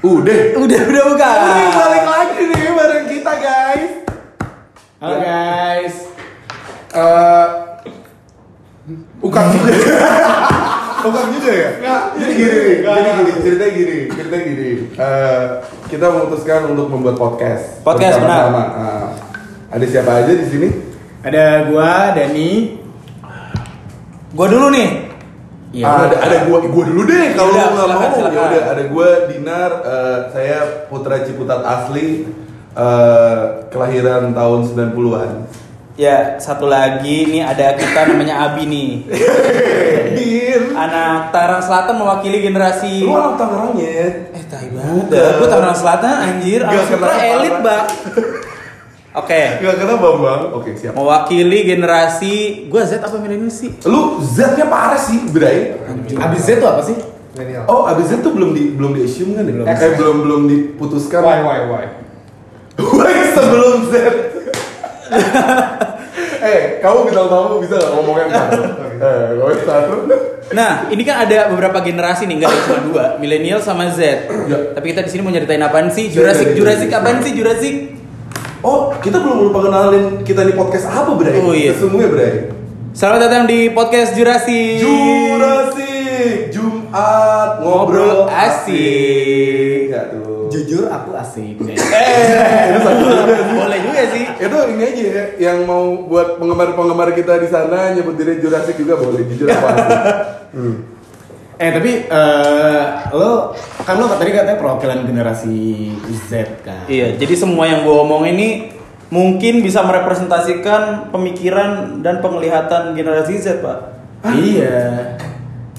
Udah. Udah, udah bukan. Oke, balik lagi nih bareng kita guys. Halo guys. Eh, bukan juga. bukan juga ya? Jadi gini, nih, jadi gini, ceritanya gini, ceritanya gini. Eh, kita memutuskan untuk membuat podcast. Podcast, Bersama-sama. Eh, ada siapa aja di sini? Ada gua, Dani. Gua dulu nih. Iya. Ah, ada, ada gua, gua dulu deh kalau lu Yaudah, nggak Iya. silakan, mau. silakan. Yaudah, ada gua Dinar, eh, saya putra Ciputat asli, eh, kelahiran tahun 90-an. Ya, satu lagi nih ada kita namanya Abi nih. Dir. Anak Tarang Selatan mewakili generasi Lu anak Tangerang ya? Eh, tai banget. dah. Gua Tarang Selatan anjir, Gak anak Sutra kenapa. elit, Bang. Oke. Gak kena Bambang. Oke, siap. Mewakili generasi gua Z apa milenial sih? Lu Z-nya parah sih, Bray. Abis Z itu apa sih? Oh, abis Z tuh belum di belum di assume kan? ya? Belum. Eh, eh, belum belum diputuskan. Why, why, why? Why sebelum Z. eh, kamu bintang tamu bisa gak ngomong yang baru? eh, ngomong yang baru. Nah, ini kan ada beberapa generasi nih, enggak cuma dua, milenial sama Z. Ya. Tapi kita di sini mau nyeritain apaan sih? Iya, Jurassic, iya, iya, Jurassic iya. apaan sih? Jurassic. Oh, kita belum lupa kenalin kita di podcast apa, Bray? Oh, iya. Sesungguhnya, Bray. Selamat datang di podcast Jurassic. Jurassic Jumat Ngobrol ngobrol asik. Enggak tuh. Jujur aku asik. Eh, itu satu juga sih. Boleh juga sih. itu ini aja ya yang mau buat penggemar-penggemar kita di sana nyebut diri Jurassic juga boleh jujur apa asli. hmm. eh tapi eh lo kan lo tadi katanya perwakilan generasi Z kan. Iya, jadi semua yang gue omong ini mungkin bisa merepresentasikan pemikiran dan penglihatan generasi Z, Pak. Iya.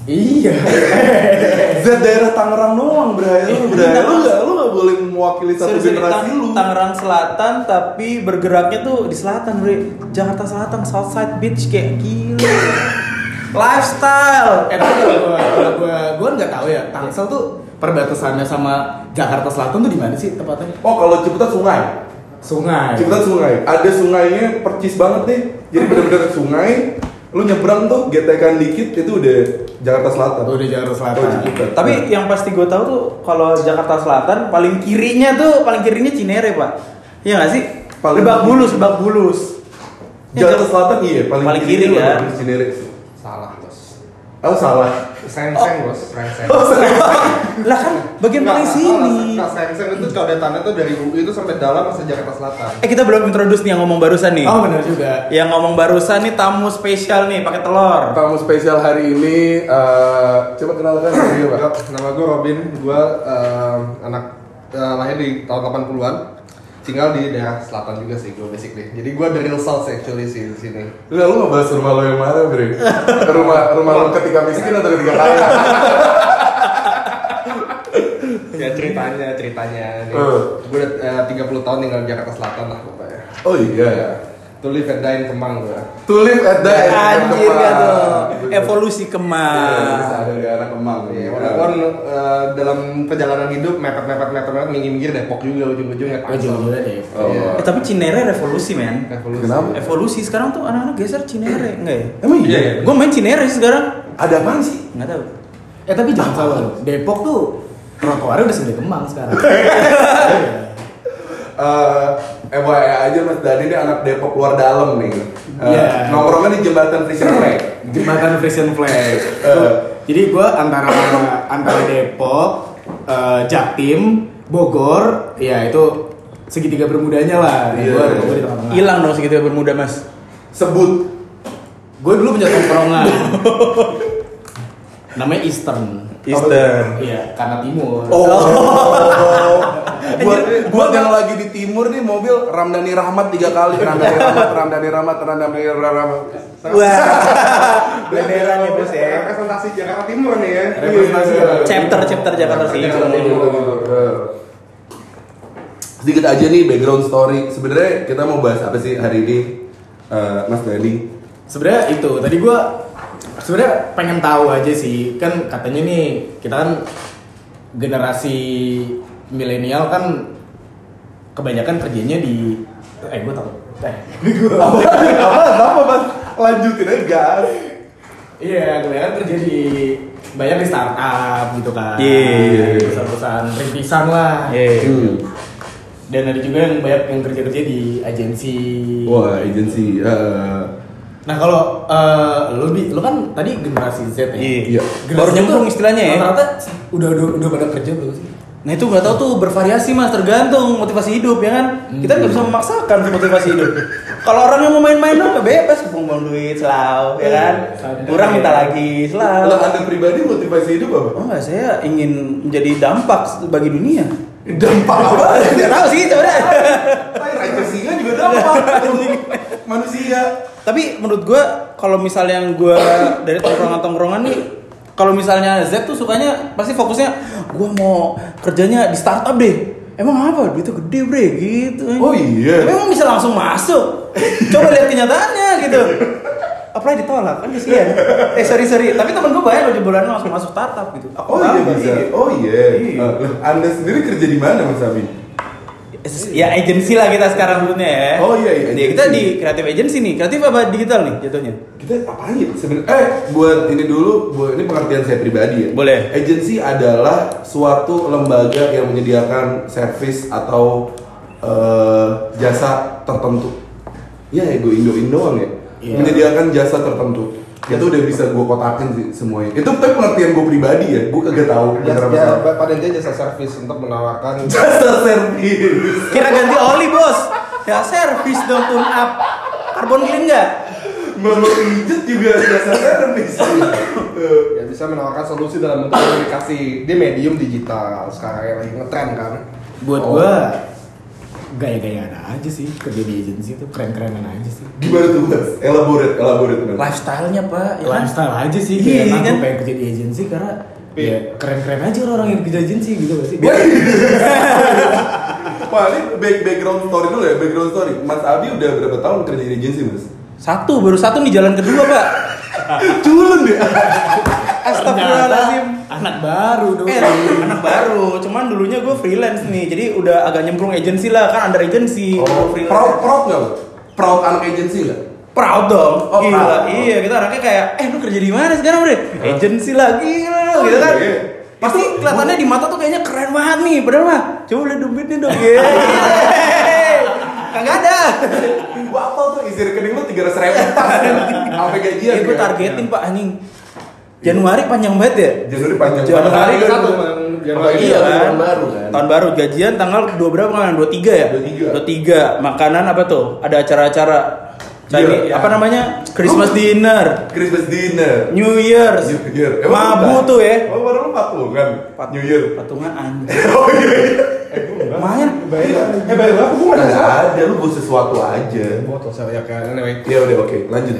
Iya. Z daerah Tangerang doang Bray lu Iya, Bray lu nggak lu nggak boleh mewakili satu Serius, ini generasi Tang- lu Tangerang Selatan tapi bergeraknya tuh di selatan, Bre. Jakarta Selatan, Southside Beach kayak gila. Lifestyle. eh tapi kalau gua kalau gua gua nggak tahu ya. Tangsel tuh perbatasannya sama Jakarta Selatan tuh di mana sih tepatnya? oh kalau Ciputat sungai Sungai. Ciputat sungai ada sungainya percis banget nih jadi bener-bener sungai lu nyebrang tuh getekan dikit itu udah Jakarta Selatan Udah Jakarta Selatan. Oh, Ciputat. Tapi yang pasti gue tahu tuh kalau Jakarta Selatan paling kirinya tuh paling kirinya Cinere, Pak. Iya nggak sih? Paling Lebak kiri. Bulus, Lebak Bulus. Ya, Jakarta Selatan iya paling, Paling kiri, lah, ya. dari Cinere. Salah bos. oh salah Sengseng bos, sengseng. oh salah Lah kan bagian paling sini. Nah, sengseng itu codetannya tuh dari UI itu sampai dalam masih Jakarta Selatan. Eh kita belum introduce nih yang ngomong barusan nih. Oh benar juga. Yang ngomong barusan nih tamu spesial nih pakai telur. Tamu spesial hari ini eh, coba kenalkan diri Pak. Yo, Iya, Nama gue Robin, gue eh, anak eh, lahir di tahun 80-an tinggal di daerah selatan juga sih gue basically jadi gue dari real south actually sih di sini Enggak, lu ngebahas rumah lo yang mana, Bre? Rumah rumah lo ketika miskin atau ketika kaya? ya ceritanya ceritanya Eh. gue udah tiga 30 tahun tinggal di Jakarta Selatan lah pokoknya Oh iya ya. tuh live and dine kemang gue To live at the end. Anjir Kemang. gak tuh. Evolusi Iya, kemang. ada di arah Kemang. Iya, walaupun eh, dalam perjalanan hidup mepet mepet mepet mepet minggir minggir Depok juga ujung ujungnya Ujung-ujungnya deh. Oh. Iya. Eh, tapi Cinere revolusi men. Revolusi. Kenapa? Evolusi sekarang tuh anak-anak geser Cinere enggak ya? Emang Iya, iya. iya. Gue main Cinere sih sekarang. Ada apaan sih? Nggak tahu. Eh tapi jangan salah loh, Depok tuh trotoarnya udah segede kemang sekarang. Eh, FYI aja Mas Dani ini anak Depok luar dalam nih. Eh, Iya. Nongkrongnya di jembatan Frisian Flag. Jembatan Frisian Flag. Eh. Jadi gua antara antara Depok, eh, Jatim, Bogor, ya itu segitiga bermudanya lah. Iya. Gua Gue di tengah-tengah. Hilang dong segitu bermuda mas. Sebut Gue dulu punya tongkrongan. Namanya Eastern. Eastern. Iya, karena timur. Oh. buat buat yang lagi di timur nih mobil Ramdhani Rahmat tiga kali Ramdhani Rahmat Ramdhani Rahmat Ramdhani Rahmat. Wah. Bendera nih bos ya. Representasi Jakarta Timur nih ya. Representasi Jakarta. Chapter chapter Jakarta sih. Sedikit aja nih background story. Sebenarnya kita mau bahas apa sih hari ini, Eh, Mas Dani? sebenarnya itu tadi gua sebenarnya pengen tahu aja sih kan katanya nih kita kan generasi milenial kan kebanyakan kerjanya di eh gua tahu eh Apa? Apa Mas? Lanjutin aja gas. iya kebanyakan kerja di banyak di startup gitu kan Iya. perusahaan-perusahaan rintisan lah Iya. Hmm. dan ada juga yang banyak yang kerja-kerja di agensi Wah, agensi. eh, nah kalau eh, lu di lu kan tadi generasi Z ya Iya. Generasi Baru Z nyemplung tuh istilahnya ya. rata-rata udah udah udah pada kerja belum sih Nah itu nggak tahu tuh bervariasi mas tergantung motivasi hidup ya kan kita nggak bisa memaksakan motivasi hidup. Kalau orang yang mau main-main apa bebas buang duit selalu ya kan Sadar. kurang minta lagi Kalau selalu. anda pribadi motivasi hidup apa? Oh nggak saya ingin menjadi dampak bagi dunia. Dampak apa? Nggak tahu sih sebenarnya. Tai raja singa juga dampak. Manusia. Tapi menurut gua kalau misalnya yang gua dari tongkrongan-tongkrongan nih kalau misalnya Z tuh sukanya pasti fokusnya gua mau kerjanya di startup deh. Emang apa? Duitnya gede bre gitu. Oh iya. Tapi emang bisa langsung masuk. Coba lihat kenyataannya gitu. Apalagi ditolak kan kesian. Eh sorry sorry, tapi temen gua banyak loh jebolannya langsung masuk startup gitu. Aku Oh tahu, iya bisa. Oh iya. Iya. Eh, lah, anda sendiri kerja di mana Mas Abi? Ya agensi lah kita sekarang sebutnya ya. Oh, iya, iya, Ya, kita agensi. di kreatif agency nih. Kreatif apa digital nih jatuhnya? kita apa ya sebenarnya eh buat ini dulu buat ini pengertian saya pribadi ya Boleh. agensi adalah suatu lembaga yang menyediakan servis atau eh, jasa tertentu ya ya gue indo indoan ya Iya. menyediakan jasa tertentu itu udah bisa gue kotakin sih semuanya itu tapi pengertian gue pribadi ya gue kagak tahu bener Ya, apa ya, salah. pada intinya jasa service untuk menawarkan jasa servis Kira ganti oli bos. Ya servis dong tune up. Karbon clean nggak? mau lo injet juga jasa servis Eh, ya bisa menawarkan solusi dalam bentuk komunikasi di medium digital sekarang yang lagi ngetren kan buat Oh. gua gaya-gayaan aja sih kerja di agensi itu keren-kerenan aja sih gimana tuh mas elaborate elaborate Mas. Lifestyle-nya pak. Ya kan? lifestyle aja sih Iya, kayak emang kan? Iya. gua pengen kerja di agensi karena ya keren-keren aja orang yang kerja di agensi gitu gak sih Biar- Wah, ini back background story dulu ya, background story. Mas Abi udah berapa tahun kerja di agensi, Mas? Satu baru satu nih jalan kedua pak. Culun deh. Astagfirullahaladzim. Ternyata anak baru dong Eh, anak baru. Cuman dulunya gue freelance nih, jadi udah agak nyemplung agensi lah, kan under agency. Oh, Gua freelance. proud proud nggak lo? Proud anak agensi nggak? Proud dong. Oh, gila. proud. Iya, kita anaknya kayak, eh lu kerja di mana sekarang, Bre? Agensi lagi, gitu kan. iya. Pasti kelihatannya di mata tuh kayaknya keren banget nih, padahal mah. Coba lihat dompetnya dong. Iya. Kagak ada. Gua apal tuh isi rekening lo tiga ratus ribu. Sampai gajian. Iya, gue ya? targetin, Pak, anjing. Iya. Januari panjang banget ya? Januari panjang. Januari kan satu, Bang. Januari Iya satu, kan. tahun baru kan. Tahun baru gajian tanggal 2 berapa kan? 23 ya? 23. 23. Makanan apa tuh? Ada acara-acara. Chinese, Iya. apa namanya? Christmas dinner, kan? Christmas dinner. New Year's. New Year. Mabu tuh ya. Oh, baru lo patungan. Pat- New Year. Patungan anjing. Lumayan. Eh, baru apa? Gue nggak ada. Lu buat sesuatu aja. botol saya kan anyway Ya udah, oke. Lanjut.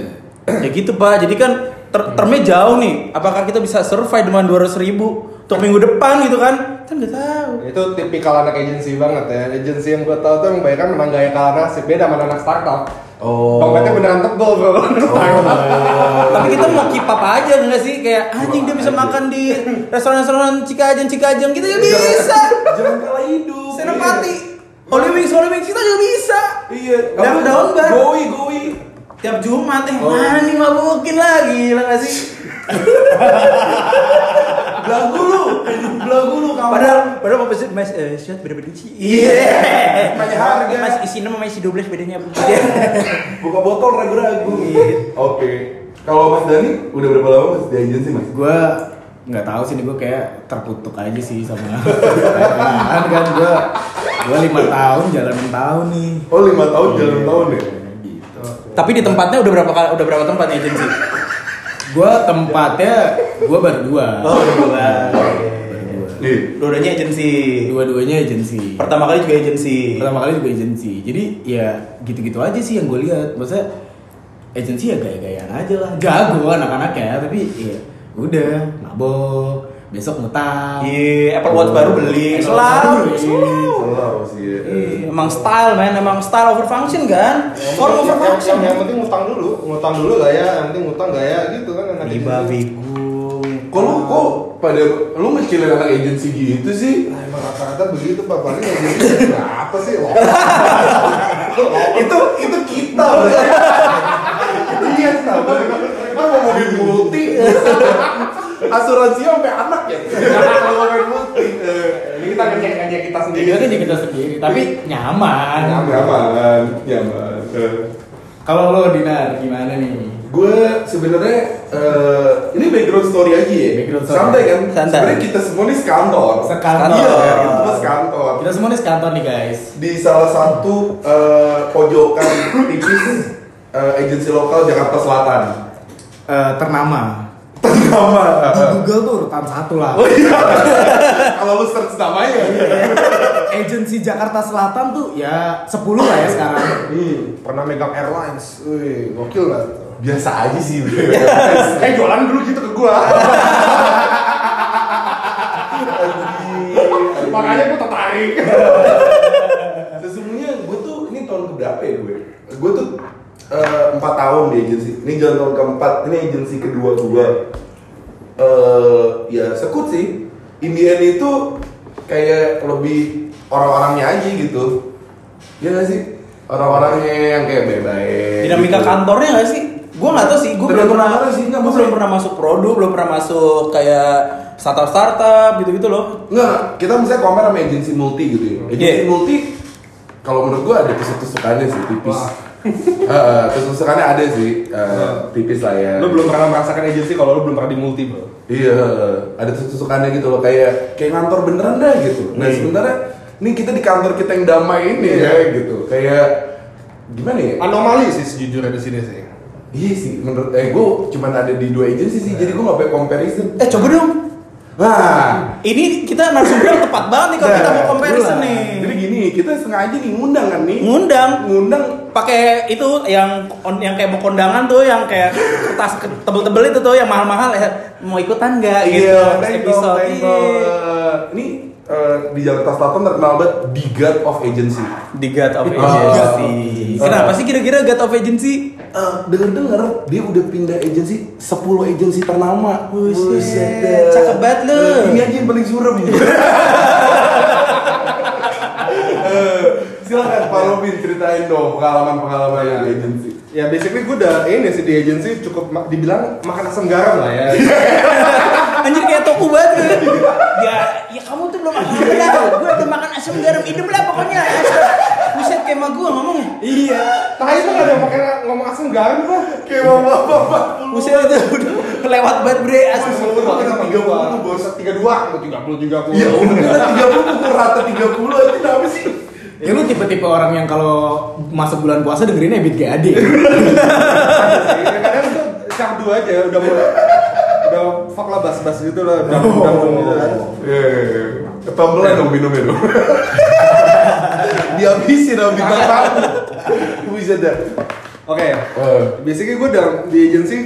ya gitu, Pak. Jadi kan ter termnya jauh nih. Apakah kita bisa survive dengan 200.000 ribu untuk minggu depan gitu kan? Kan nggak tahu. itu tipikal anak agensi banget ya agensi yang gue tau tuh yang kebanyakan memang gaya kalah nasib beda sama anak startup Oh. dompetnya beneran tebel bro startup Tapi kita mau keep up aja nggak sih? Kayak anjing dia bisa makan di restoran-restoran Cikajang Cikajang kita juga Iya. bisa. Jangan kalah hidup. Senopati, Holy Wings, Holy Wings kita juga bisa. Iya. Daun daun bar. Goi goi. Tiap Jumat Oh. eh mana nih mabukin lagi, gila nggak sih? Belagu lu. Belagu lu kamu. Padahal padahal apa sih Mas eh shot beda beda sih. Iya. Banyak harga. Mas isinya sama isi 12 bedanya apa? Iya. buka botol ragu-ragu. Iya. Oke. Kalau Mas Dani udah berapa lama Mas di agensi Mas? gue nggak tahu sih ini gue kayak terkutuk aja sih sama kan kan gue gue lima tahun jalan enam tahun nih Oh lima tahun jalan tahun ya. gitu Tapi di tempatnya udah berapa kali udah berapa tempat nih agensi? gue tempatnya gue berdua Oh, berdua. Nih. Dua-duanya agensi. dua-duanya agensi Pertama kali juga agensi. pertama kali juga agensi jadi ya gitu-gitu aja sih yang gue lihat maksudnya agensi ya gaya-gayaan aja lah jago anak-anak ya tapi ya udah mabok besok ngutang Iya, Apple Watch baru beli. Apple Watch baru Selalu, beli. selalu. Salah sih ya. Iya, Emang style men, emang style over function kan? Form over yang, yang, function. yang penting ngutang dulu ngutang dulu gaya yang penting ngutang gaya gitu kan anak Riba agensi Wigung. Kok lu kok pada lu ngecilin anak agensi gitu sih? Nah, emang rata-rata begitu pak paling agensi berapa sih Wah, itu itu kita. Iya, sama. Kan mau mobil multi. asuransi sampai anak ya. Jangan kalau main multi. Eh, Ini kita ngecek aja kita sendiri. Kita kan jadi kita sendiri, Iya. tapi nyaman. Nyaman, nyaman. Kalau lo Dinar gimana nih? Gue sebenarnya eh, ini background story aja ya. Background story. Santai kan? Santai. Sebenarnya kita semua ini sekantor. Sekantor. Iya, kita semua sekantor. Kita semua nih sekantor nih guys. di salah satu eh, pojokan tipis eh, agensi lokal Jakarta Selatan. Eh, ternama. Nama. Di Google tuh urutan satu lah. Oh, Kalau lu search ya? namanya. Agensi Jakarta Selatan tuh ya 10 lah ya sekarang. Hmm, pernah megang airlines, wih gokil lah. Biasa aja sih. eh jualan dulu gitu ke gua. Makanya gua tertarik. Sesungguhnya gua tuh ini tahun keberapa ya gue? Gue tuh eh, empat tahun di agensi. Ini jalan tahun keempat. Ini agensi kedua gua. eh ya sekut sih. Indian itu kayak lebih orang-orangnya aja gitu. Ya nggak sih? Orang-orangnya yang kayak baik-baik. dinamika gitu. kantornya nggak sih gue nggak tahu sih gue belum Tergantung pernah kantor sih, nggak, gue belum maksudnya- pernah masuk produk belum pernah masuk kayak startup startup gitu gitu loh Nggak, kita misalnya compare sama agensi multi gitu ya. Agensi Iya. multi kalau menurut gua ada tusuk-tusukannya sih tipis. Wah. Eh, tusuk-tusukannya ada sih, eh, tipis lah ya. Lu belum pernah merasakan agensi kalau lu belum pernah di multi bro. Iya, ada tusuk-tusukannya gitu loh kayak kayak kantor beneran dah gitu. Nah, Iya. sebenarnya ini kita di kantor kita yang damai ini ya gitu. Kayak gimana ya? Anomali sih sejujurnya di sini sih. Iya sih, menurut eh gua cuman ada di dua agensi sih, Iya. jadi gua nggak pakai comparison. eh coba dong Nah, ini kita narasumber yang tepat banget nih kalau kita mau comparison nih Jadi gini, kita sengaja nih ngundang kan nih. ngundang Ngundang pakai itu yang on- yang kayak mau kondangan tuh yang kayak kertas ke- tebel-tebel itu tuh yang mahal-mahal ya mau ikutan nggak gitu terus Iya, thank you, episode thank you. Eh, Ini eh, di Jakarta Selatan terkenal banget The God of Agency. di God of Oh, God. Agency iya, kenapa sih kira-kira God of Agency Eh, Dengar-dengar dia udah pindah agensi 10 agensi ternama. Buset, Buset. cakep banget lu. Eh, Ini aja yang paling surem. Eh, Silakan Pak Robin ceritain dong pengalaman-pengalaman yang agensi. Ya basically gue udah ini sih di agensi cukup ma- dibilang makan asam garam lah ya. Anjir kayak toko banget gitu. Ya, ya kamu tuh belum Iya. makan asam garam. Gue udah makan asam garam hidup lah pokoknya. Buset kayak emak gue ngomongnya. iya. Tapi itu nggak ada yang pakai ngomong asam garam lah. Kayak bapak-bapak. Buset itu udah lewat banget bre Eh, asam. Sepuluh kita tiga puluh, bos tiga dua, tiga puluh tiga puluh. Ya udah 30 pukul rata 30 aja kenapa sih? Ya lu tipe-tipe orang yang kalau masuk bulan puasa dengerin Ebit GAD. kadang Iya, tuh syahdu aja udah mulai udah fuck lah bas-bas gitu lah udah udah gitu lah. Yeah. Tumblean Oh. Iya. dong minumnya dong. Dihabisin sama bintang tamu. Bisa dah. Oke, Eh. basically gue udah di agensi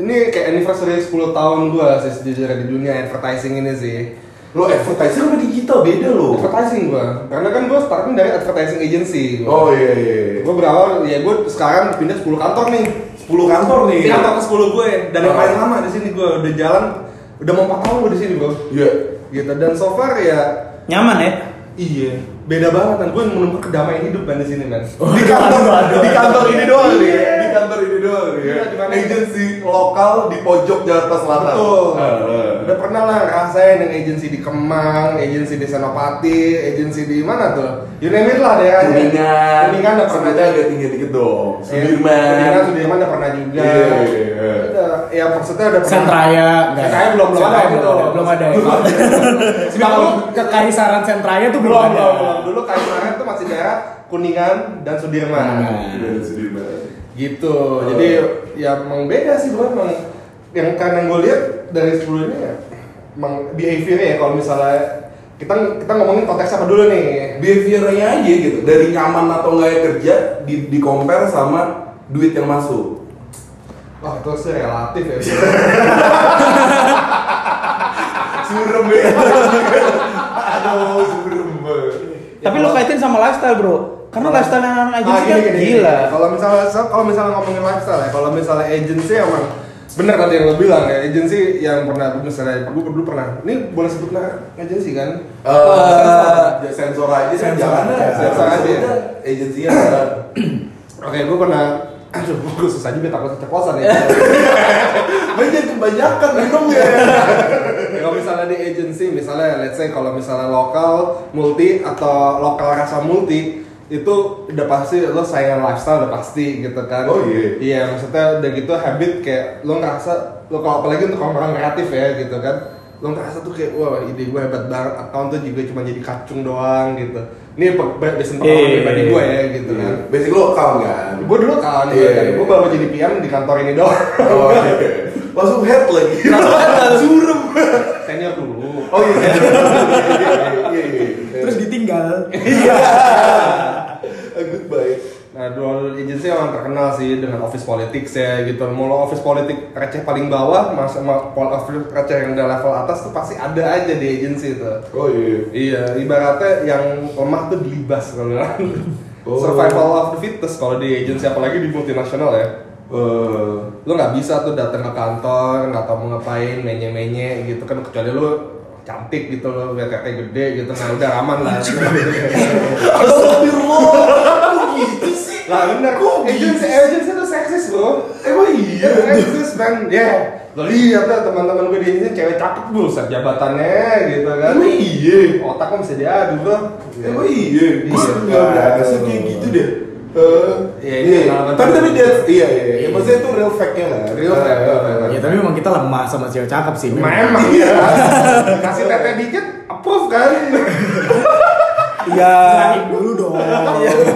ini kayak anniversary 10 tahun gue sih sejujurnya di dunia advertising ini sih Lo advertiser sama digital beda lo. advertising gue karena kan gue startnya dari advertising agency gua. Oh iya iya. gue berawal ya gue sekarang pindah 10 kantor nih 10 kantor nih. ini kantor ke 10 gue dan yang Oh. paling lama di sini gue udah jalan udah mau 4 tahun gue di sini bro Iya. gitu dan so far ya Nyaman ya? Iya, beda banget kan. Gue menemukan kedamaian hidup kan di sini kan. Di kantor di kantor ini doang nih. Di kantor ini doang nih. Iya, di mana? Agensi lokal di pojok Jakarta Selatan. Betul. Eh, eh. Udah pernah lah rasain yang agensi di Kemang, agensi di Senopati, agensi di mana tuh? You name it lah daerahnya. iya. Kuningan. Kuningan udah pernah Sebetulnya agak tinggi dikit dong. Iya, Kuningan, Sudirman. Sudirman udah pernah juga. Iya, iya, iya. Udah, ya maksudnya udah pernah. Sentraya, enggak. Sentraya belum- belum Sentraya ada gitu. Belum ada. Kalau kekaisaran Sentraya tuh belum Belum, ada. belum, belum. Dulu kayak kemarin tuh masih daerah Kuningan dan Sudirman. Kuningan. Iya, Sudirman. gitu jadi ya emang beda sih gue emang yang karena gue lihat dari sebelumnya ya emang behavior ya kalau misalnya kita kita ngomongin konteks apa dulu nih behaviornya aja gitu dari nyaman atau nggak ya kerja di di compare sama duit yang masuk wah itu sih relatif ya surem ya aduh surem banget. Tapi lo kaitin sama lifestyle bro. Karena lifestyle yang Ah, anak Ah, agensi kan gila. kalau misalnya kalau misalnya ngomongin lifestyle ya kalau misalnya agency emang bener tadi yang lo bilang ya agency yang pernah gue misalnya gue dulu pernah ini boleh sebut merek agency kan Eh, ya sensor aja sih sensor jangan ya, aja. sensor aja Sensor aja. agensinya ada. Oke, gue pernah Aduh, gue susah juga takut keceplosan ya Makanya jangan kebanyakan minum ya. Ya, kalau misalnya di agency, misalnya let's say kalau misalnya lokal multi atau lokal rasa multi itu udah pasti lo saingan lifestyle udah pasti gitu kan Oh, iya. iya maksudnya udah gitu habit kayak lo ngerasa lo kalau apalagi untuk orang kreatif ya gitu kan lo ngerasa tuh kayak wah ide gue hebat banget account tuh juga cuma jadi kacung doang gitu ini pe- be- basic pengalaman Iya. pribadi gue ya gitu kan Basic lo account kan. gue dulu kan Iya. gue baru jadi PM di kantor ini doang Oh, iya. Langsung head lagi. Suruh. senior dulu Oh iya. Iya, Iya iya. Terus ditinggal. Eh, Goodbye. Nah, dual agency emang terkenal sih dengan office politics ya gitu. Mau lo office politik receh paling bawah, mas sama pol- office receh yang udah level atas tuh pasti ada aja di agency itu. Oh iya. Iya, ibaratnya yang lemah tuh dilibas kalau bilang. Oh. Survival of the fittest kalau di agency apalagi di multinasional ya. Eh, Lo nggak bisa tuh datang ke kantor, nggak tahu mau ngapain, menye-menye gitu kan kecuali lo cantik gitu lo, BTT gede gitu, nah udah aman lah. Astagfirullah. Kok gitu sih? Lah bener, Eh, Kok gitu agency, agency tuh seksis bro Emang Iya, iya. eksis man, ya Lo lihat lah teman-teman gue di sini cewek cakep dulu set jabatannya gitu kan Emang iya. Otaknya bisa diadu bro Emang iya. Gue Iya. nggak berasa kayak gitu deh. Eh, Iya, ini iya. pengalaman tapi tapi dia iya iya, iya. Iya. maksudnya itu real fact-nya lah. Real fact, real fact. Ya tapi memang kita lemah sama cewek cakep sih. memang. Memang iya Kasih tete dikit, approve kan Iya. Berani dulu dong. Iya.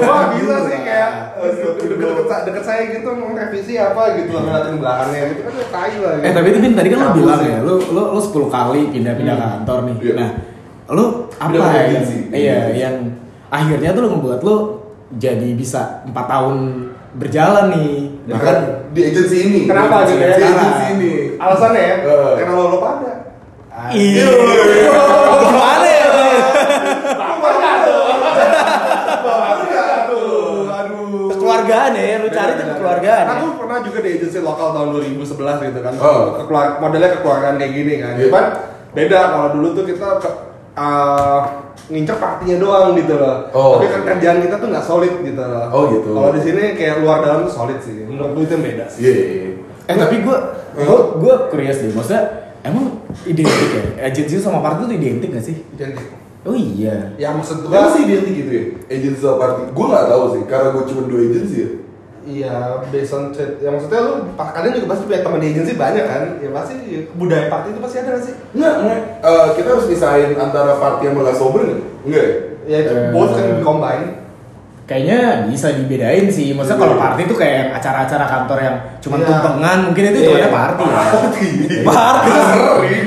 Wah bisa Iya. sih kayak eh, deket, sa- deket saya gitu mau revisi apa gitu lah ngeliatin belakangnya gitu kan udah tai lah Eh tapi itu Bin, tadi kan lo Kabur bilang sih. ya, lo lo lo 10 kali pindah-pindah kantor nih. Iya. Nah, lo apa Pindah-pindah yang, agensi. iya, yang akhirnya tuh lo membuat lo jadi bisa 4 tahun berjalan nih. Nah, kan di agensi ini. Kenapa di gitu ya? Di agensi ini. Alasannya ya, Eh. karena lo lo pada Iya. Gimana ya? Aduh. Kekeluargaan ya, lu cari tuh kekeluargaan. Aku ya. pernah juga di agensi lokal tahun 2011 gitu kan. Oh. Kekeluar- modelnya kekeluargaan kayak gini kan. Iya. Cuman beda kalau dulu tuh kita ke, ah, ngincer partinya doang gitu loh. Oh. Tapi kan kerjaan kita tuh nggak solid gitu loh. Oh, gitu. Kalau di sini kayak luar dalam tuh solid sih. Menurut gue itu yang beda sih. Iya. iya, iya. Eh tapi gue gue gue curious deh, maksudnya emang identik ya? Agensi sama partner tuh identik gak sih? Dan- Oh iya. Ya maksud gue Kenapa sih identik gitu ya? Agensi sama party? Gue nggak tahu sih, karena gue cuma dua agensi ya. Iya, based on chat. Ya maksudnya lu pa- kalian juga pasti punya teman di agensi banyak kan? Ya pasti budaya party itu pasti ada nggak sih? Nggak, nggak. Eh, kita harus misahin antara party yang nggak sober nggak? Nggak ya? Ya Eh. both kan combine. Kayaknya bisa dibedain sih. Maksudnya kalau party tuh kayak yang acara-acara kantor yang cuman Iya. tumpengan, mungkin itu cuma Iya. party ya. Party. Sering.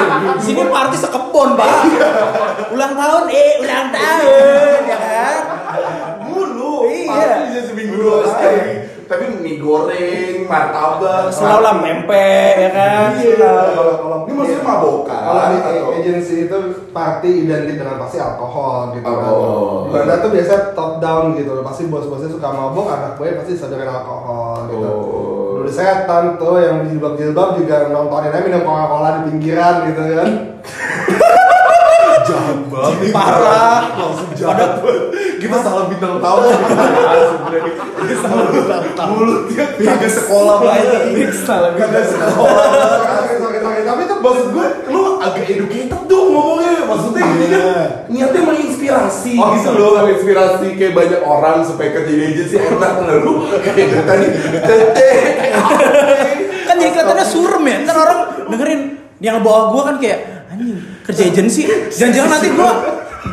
Sini party sekebon, Pak. Ulang tahun, eh ulang tahun, ya kan? Mulu. Iya. Party bisa seminggu dua kali. Tapi mie goreng, martabak, Selalu lah pempek, ya kan? Iya. Kalau- kalau- Ini maksudnya mabokan. iya. Kalau di atau- agency itu party identik dengan pasti alkohol gitu. Alkohol. Di Mana tuh biasanya top down gitu. loh. Pasti bos-bosnya suka mabok, anak gue pasti sadarin alkohol gitu. Oh. Dulu setan tuh yang jilbab-jilbab juga nontonin aja minum Coca-Cola di pinggiran gitu kan. Jahat banget. Parah. Langsung jahat. Kita salah bintang tamu. Kita salah bintang tamu. Mulutnya kagak sekolah banget. Salah Kagak sekolah. Sorry, sorry, sorry. Tapi tuh Maksud gue, lu agak educated dong ngomongnya. Maksudnya Iya. ini gitu. kan niatnya menginspirasi Oh, gitu loh, menginspirasi kayak banyak orang supaya kerja di agensi enak nah lu kayak gue tadi tete. Kan jadi kelihatannya surem ya. Ntar orang dengerin yang bawa gua kan kayak anjing kerja agensi. Jangan-jangan nanti gua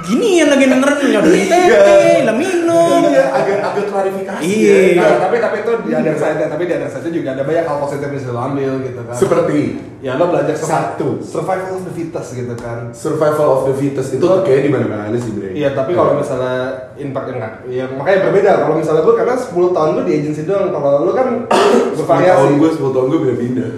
gini yang lagi dengerin nyodorin tete, lah minum. Iya, agak agak klarifikasi. Iya. ya. Nah, tapi tapi itu di ada side tapi di ada side juga ada banyak hal positif yang bisa lo ambil gitu kan. Seperti ya lo belajar Satu. satu survival of the fittest gitu kan. survival of the fittest itu tuh kayaknya di mana-mana sih, Bre. Iya, tapi kalau misalnya impact enggak. Ya makanya berbeda. Kalau misalnya gue karena 10 tahun gue di agency doang. Kalau lu kan bervariasi. tahun gue, 10 tahun gue pindah-pindah.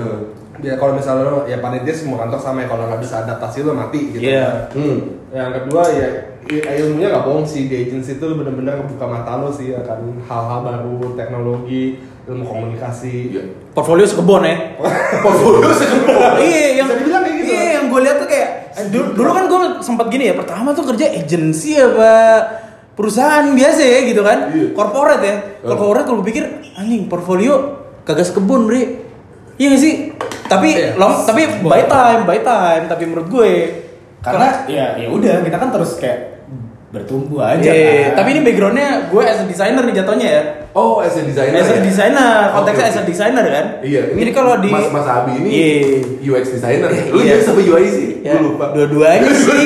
Ya kalau misalnya lu ya panitia semua kantor sama ya kalau nggak bisa adaptasi lu mati gitu. Iya. Hmm. Yang kedua ya i- ilmunya nggak bohong sih di agency itu lu bener-bener kebuka mata lu sih akan hal-hal baru, teknologi, ilmu komunikasi. Iya. Portfolio sekebon ya. Portfolio sekebon. iya yang Bisa dibilang kayak gitu. iya yang gue lihat tuh kayak eh, dulu, dulu kan gue sempat gini ya pertama tuh kerja agensi apa perusahaan biasa ya gitu kan Iya. corporate ya Oh. corporate kalau gue pikir anjing portfolio kagak sekebun bre iya gak sih Tapi Iya. long, tapi by time, by time. Tapi menurut gue karena ya ya udah kita kan terus kayak bertumbuh aja Iya, kan. tapi ini backgroundnya gue as a designer nih jatuhnya ya. Oh, as a designer. As a ya? designer, konteksnya Oke, as a designer kan. Iya, ini Jadi kalau di Mas Mas Abi ini Iya. UX designer. Lu Iya. UX apa UI sih? Ya, Gue lupa. Dua-duanya sih.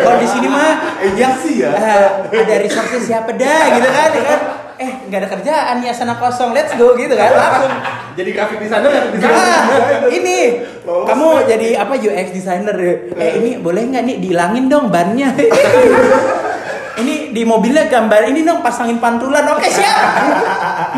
Kalau di sini mah yang Agensi ya? eh, ada resource siapa dah gitu kan, ya kan. Eh, nggak ada kerjaan ya sana kosong. Let's go gitu kan. Langsung. Jadi grafik designer yang Ah, ini Iya, Lolos. kamu jadi apa UX designer ya? Eh ini boleh nggak nih dihilangin dong bannya. ini di mobilnya gambar ini dong pasangin pantulan. Oke siap.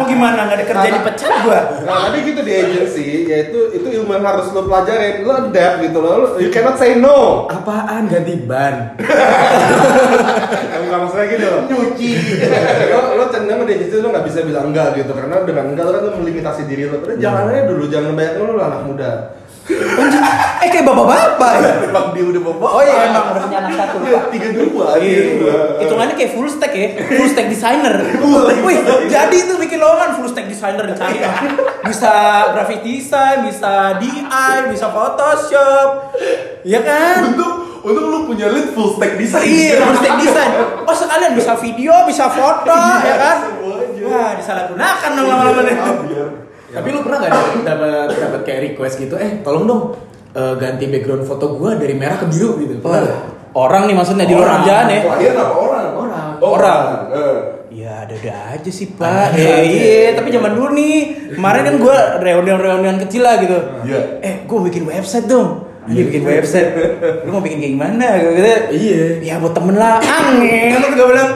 Mau gimana nggak ada kerja dipecat gua. Nah, tadi gitu di agency, yaitu itu ilmu yang harus lo pelajarin. Lo adapt gitu lo, lo- you cannot say no. apaan ganti ban Kamu nggak masalah gitu. Nyuci. lo, lo cenderung di agency lo nggak bisa bilang enggak gitu, karena dengan enggak lo kan lo melimitasi diri lo. Tapi jangan aja dulu, jangan banyak lo, lo anak muda. Eh kayak bapak-bapak. ya. Emang dia udah bawa. Oh iya emang udah punya anak satu. Iya, tiga dua. Iya. Hitungannya kayak full stack ya, full stack designer. Wih, jadi itu bikin lowongan full stack designer dicari. Bisa graphic design, bisa DI, bisa Photoshop. Ya kan? Untuk untuk lu punya lead full stack design. Iya, harus take design. Oh sekalian bisa video, bisa foto, ya kan? semuanya. Wah, disalahgunakan dong lama-lama nih. ya. tapi lu pernah gak dapat dapat kayak request gitu eh tolong dong eh, ganti background foto gua dari merah ke biru gitu pernah nggak? Orang nih maksudnya di luar Orang. kerjaan ya. Klien apa orang? Orang. Oh, Orang. Eh. Iya, ada-ada aja sih pak. Eh, iya, tapi zaman dulu nih. Kemarin kan gue reunion-reunian kecil lah gitu. Iya. Eh, gue bikin website dong. Ini bikin website. Lu mau bikin kayak gimana? Gua Gitu. Iya. Ya buat temen lah. Angin. Lu gue bilang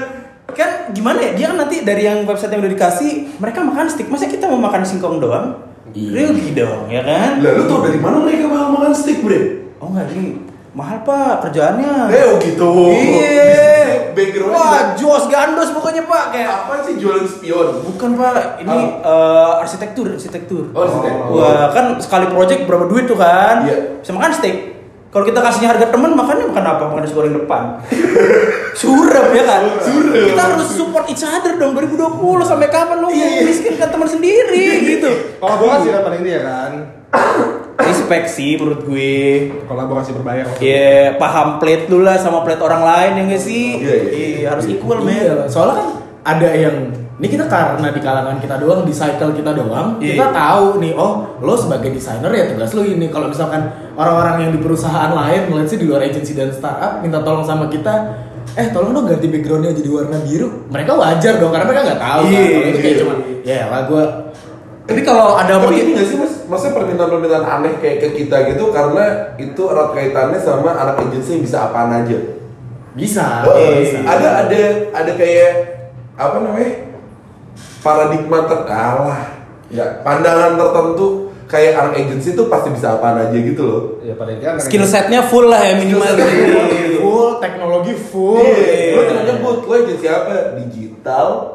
kan gimana ya dia kan nanti dari yang website yang udah dikasih mereka makan stick masa kita mau makan singkong doang Iya. rugi dong ya kan Lah lu tau dari mana mereka bakal makan steak, Bre? oh enggak ini mahal pak kerjaannya Eh, oh gitu. iya Background wah jos gandos pokoknya pak kayak Eh, apa sih jualan spion? Bukan pak, ini eh, arsitektur, arsitektur. Oh, arsitektur. Wah kan sekali project berapa duit tuh kan? Iya. Bisa makan steak. Kalau kita kasihnya harga teman makannya makan apa? Makan nasi goreng depan. Suram ya kan? Suram. Kita harus support each other dong 2020 sampai kapan lu Iya, iya. miskinkan teman sendiri gitu. Kolaborasi kan paling dia kan. Respect sih menurut gue. Kolaborasi berbayar. Ya paham plate lu lah sama plate orang lain ya nggak sih? Iya, iya. Iya, harus equal men. Iya, soalnya kan ada yang ini kita karena di kalangan kita doang, di cycle kita doang, Iya. kita tahu nih, oh lo sebagai desainer ya tugas lo ini. Kalau misalkan orang-orang yang di perusahaan lain, let's say di luar agensi dan startup, minta tolong sama kita, eh tolong dong ganti backgroundnya jadi warna biru. Mereka wajar dong, karena mereka nggak tahu. Iya, kan. Kalau itu kayak iya. cuma, ya lah gue Tapi kalau ada Tapi ini gak sih mas, maksudnya permintaan-permintaan aneh kayak ke kita gitu karena itu erat kaitannya sama anak agensi yang bisa apaan aja. Eh, bisa. Ah, iya, bisa. ada ada ada kayak apa namanya paradigma terkalah ya pandangan tertentu kayak anak agensi tuh pasti bisa apaan aja gitu loh. Ya paling kan. skill setnya full lah ya minimal. Skill setnya full. full teknologi full. Iya, lo tinggal nyebut lo agensi apa digital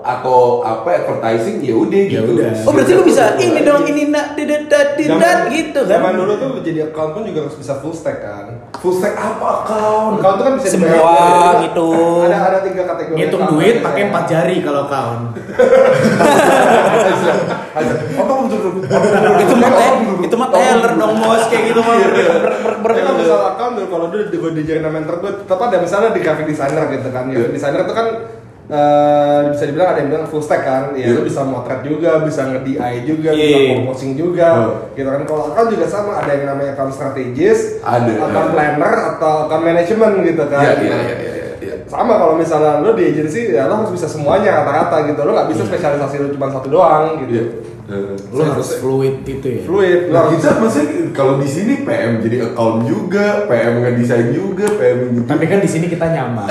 atau apa advertising ya udah Ya gitu. udah. Oh berarti lu bisa ini dong ini nak didat dat, didat gitu kan? Zaman dulu tuh jadi account pun juga harus bisa full stack kan. Full stack apa kau? Account tuh kan bisa Semua dibayar. gitu. Ada ada tiga kategori. Ngitung account kan. duit biasanya. pakai empat jari kalau account. Apa betul itu mah teh, itu mah teller dong bos kayak gitu mah. Ber- ber- ber- ber- Tapi Iya, kalau misalnya account Iya. dulu, kalau dulu gue diajarin sama mentor gue, tetap ada misalnya di graphic designer gitu kan. Ya, Iya. designer itu kan eh, bisa dibilang ada yang bilang full stack kan. Ya Iya. lu bisa motret juga, bisa nge-DI juga, bisa Iya. composing juga. Hmm. Gitu kan. Kalau account juga sama, ada yang namanya account strategis, Ada, ada. account planner atau account management gitu Iya kan. iya iya iya, iya. sama kalau misalnya lo di agensi ya lo harus bisa semuanya rata-rata gitu lo nggak bisa spesialisasi lo cuma satu doang gitu Iya. Eh, Lo harus fluid gitu ya. fluid lo Nah, harus kita maksudnya kalau di sini PM jadi account juga, PM ngedesain juga, PM gitu. Tapi kan di sini kita nyaman.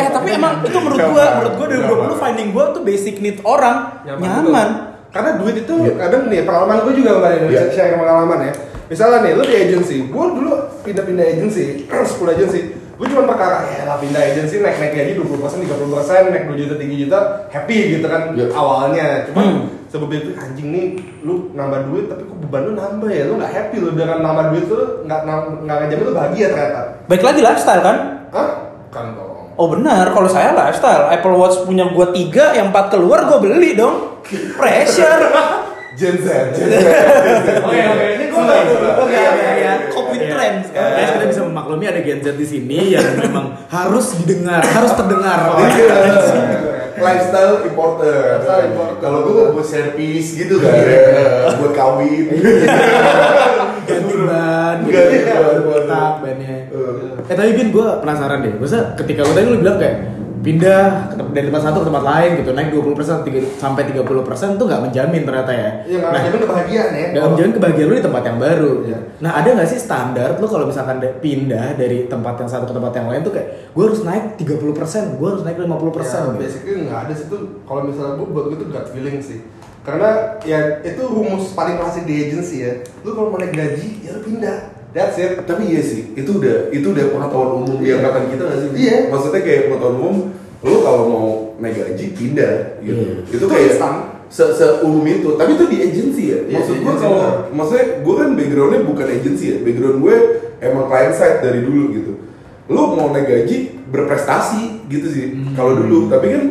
Eh tapi emang itu menurut gua, menurut gua dari Nyaman. 2020 finding gua tuh basic need orang Nyaman nyaman. betul. Karena duit itu Iya. kadang nih pengalaman gue juga kemarin Iya. yeah. share pengalaman ya. Misalnya nih lu di agensi, gue dulu pindah-pindah agensi, 10 agensi. Gue cuma perkara ya lah pindah agensi naik-naik gaji 20 persen, 30 persen, naik 2 juta, 3 juta, happy gitu kan Iya. awalnya. Cuman Hmm. sebab itu anjing nih lu nambah duit tapi kok beban lu nambah ya, lu nggak happy lu dengan nambah duit lu nggak nam- nggak ngajamin lu bahagia ternyata. Baik lagi lifestyle kan? Hah? Kan dong. Oh benar, kalau saya lifestyle. Apple Watch punya gua tiga, yang empat keluar gua beli dong. Pressure. Gen Z, Gen Z. Oke oke ini gue Senang, senang. Oke oke ya. Iya, Covid Iya. trends, kan? Guys, kita bisa memaklumi ada Gen Z di sini yang memang harus didengar, harus Oh, terdengar. iya. Lifestyle importer. Lifestyle importer. Kalau gue buat servis gitu kan, ya. buat kawin. Ganti ban, Ganti ban, botak, bannya. Eh. Eh tapi Bin, gue penasaran deh. Masa ketika lu tadi lu bilang kayak pindah ke tem- dari tempat satu ke tempat lain gitu naik 20% tiga- sampai 30% tuh nggak menjamin ternyata ya. Iya nggak Nah, menjamin kebahagiaan ya. dalam jalan kebahagiaan lu di tempat yang baru. Iya. Nah ada nggak sih standar lu kalau misalkan de- pindah dari tempat yang satu ke tempat yang lain tuh kayak gue harus naik 30%, gue harus naik 50% Ya, gitu. basically nggak ada sih tuh kalau misalnya gue buat gue tuh gut feeling sih karena ya itu rumus paling klasik di agency ya lu kalau mau naik gaji ya lu pindah that's it Tapi iya sih, itu udah itu udah pengetahuan umum di angkatan kita nggak sih? Iya. Maksudnya kayak pengetahuan umum, lu kalau mau naik gaji pindah gitu. Iya. Itu Itu kayak instan. se seumum itu. Tapi itu di agency ya. Iya, Maksud di gue agency kalau benar. maksudnya gue kan backgroundnya bukan agency ya. Background gue emang client side dari dulu gitu. Lu mau naik gaji berprestasi gitu sih kalau dulu. Tapi kan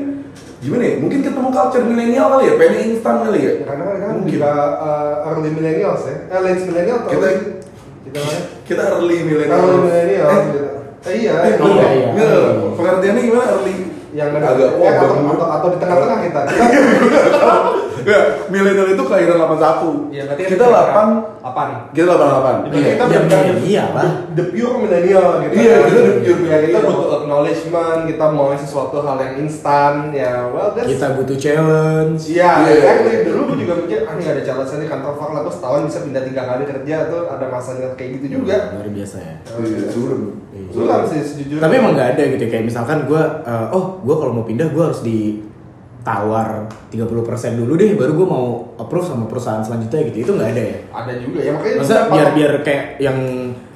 gimana ya? Mungkin ketemu culture milenial kali ya, pengen instan kali ya. Ya, karena kan Mungkin. kita uh, early millennials ya eh late millennial atau Kita- early- kita mana? Kita early early milenial. millennial Eh, gitu. Eh, iya Eh, iya. belum. iya, iya. Nggak, Pengertiannya gimana early? yang agak eh, wah, atau, baru- atau, atau di tengah-tengah kita, kita Nggak, Iya, milenial itu kelahiran 81. Iya, berarti kita 8 delapan kita 88. Berarti kita Ya, bukan iya lah. the pure millennial gitu. Iya, kita the pure Ya, kita millennial. butuh acknowledgement, kita mau sesuatu hal yang instan. Ya, well that's Kita butuh challenge. Iya, Iya. exactly. Dulu gue juga mikir, ah nggak ada challenge nya di kantor fak lah, gue setahun bisa pindah tiga kali kerja atau ada masanya kayak gitu juga. Luar biasa ya. Iya, suram. Sulam sih sejujurnya. Tapi emang nggak ada gitu kayak misalkan gue, oh gue kalau mau pindah gue harus ditawar 30% dulu deh, baru gue mau approve sama perusahaan selanjutnya gitu. Itu nggak ada ya. ada juga ya makanya. Masa kita- biar biar kayak yang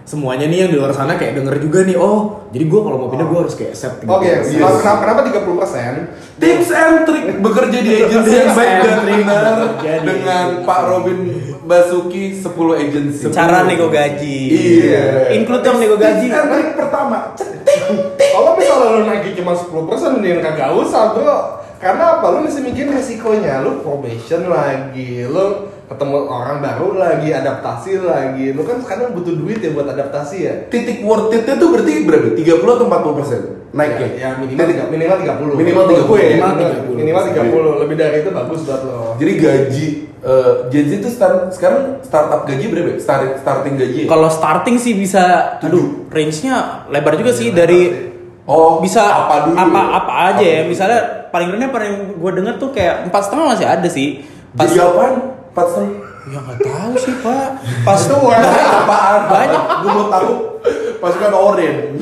semuanya nih yang di luar sana kayak denger juga nih, oh jadi gue kalau mau pindah gue harus kayak accept gitu." 30%. Oke, Iya. kenapa kenapa 30 persen? Tips and trick bekerja di agensi Iya. yang baik Tips dan and trick benar bekerja di dengan agensi. Pak Robin Basuki 10 agensi. Cara nego gaji. Iya. Include dong nego gaji. Tips and kan trick pertama, ceting. Kalau misalnya lo nagih cuma 10 persen, mendingan kagak usah bro. Karena apa? Lo mesti mikirin resikonya. Lo probation lagi, lo ketemu orang baru lagi, adaptasi lagi. Lo kan sekarang butuh duit ya buat adaptasi ya. Titik worth it-nya tuh berarti berapa? 30 atau 40 persen? Naiknya? Ya, minimal tiga, minimal 30. Minimal Menurut 30. gue ya, Minimal minimal 30. 30. Minimal 30. Lebih dari itu bagus buat lo. Jadi gaji eh, Gen Z itu start, sekarang startup gaji berapa? ya? Start, starting gaji? ya? Kalau starting sih bisa, aduh, range-nya lebar juga sih dari Iya, oh bisa apa dulu? apa, apa aja ya. dulu? Misalnya paling rendah paling gue denger tuh kayak empat setengah masih ada sih. Pas Jadi apaan? Empat setengah. ya nggak tahu sih pak. Pas Itu warnanya apaan? Banyak. Gue mau tahu. kan Pasukan oren.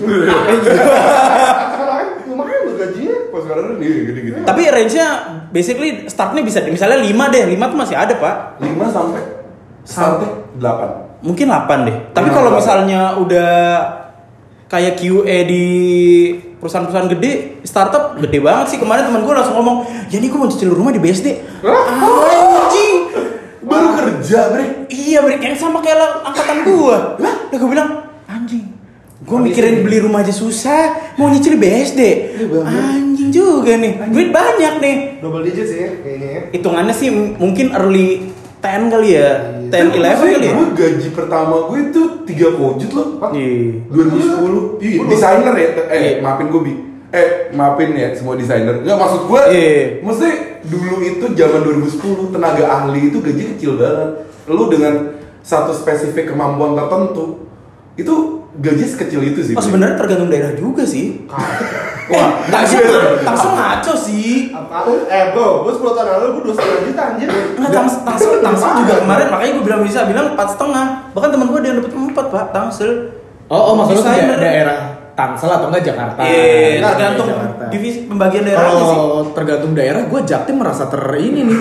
Sekarang lumayan lo gajinya. Pasukan oren gini gini gini. tapi range-nya basically startnya bisa misalnya 5 deh, 5 tuh masih ada pak. lima sampai sampai delapan. Mungkin 8 deh. Tapi Lima, kalau delapan. misalnya udah kayak QA di perusahaan-perusahaan gede, startup gede banget sih. Kemarin teman gue langsung ngomong, "Ya ini gue mau cicil rumah di BSD." Anjing. Baru kerja bre. Iya, Brik, yang sama kayak lah angkatan gua. Lah, lah gua bilang, anjing. Oh, Gua iya, mikirin beli rumah aja susah, mau nyicil BSD. Anjing juga nih. Duit banyak nih. Double digit sih kayaknya ya. Hitungannya sih m- mungkin early 10 kali Iya. ya. 10 11 kali ya. Gue Iya, gaji pertama gue itu tiga kojut loh. Iya. 2010 iya, desainer ya eh maafin gue bi eh maafin ya semua desainer nggak maksud gue Iya. maksudnya dulu itu zaman 2010 tenaga ahli itu gaji kecil banget lu dengan satu spesifik kemampuan tertentu itu gaji sekecil itu sih Oh, Bi. Iya. sebenarnya tergantung daerah juga sih. Wah, Wah, Tangsel, Iya, Tangsel ngaco sih. Apa? Eh bro, gue 10 tahun lalu gue 2,5 juta anjir. Enggak, Iya. Tangs- Tangsel, Tangsel juga kemarin makanya gue bilang bisa bilang empat setengah. Bahkan teman gue ada yang dapat empat pak, Tangsel. Oh, oh maksudnya tuh Desainer. da- daerah Tangsel atau enggak Jakarta? Iya, Enggak, tergantung Jakarta. Oh. divisi pembagian daerahnya sih. Kalau tergantung daerah, gue Jaktim merasa ter ini nih.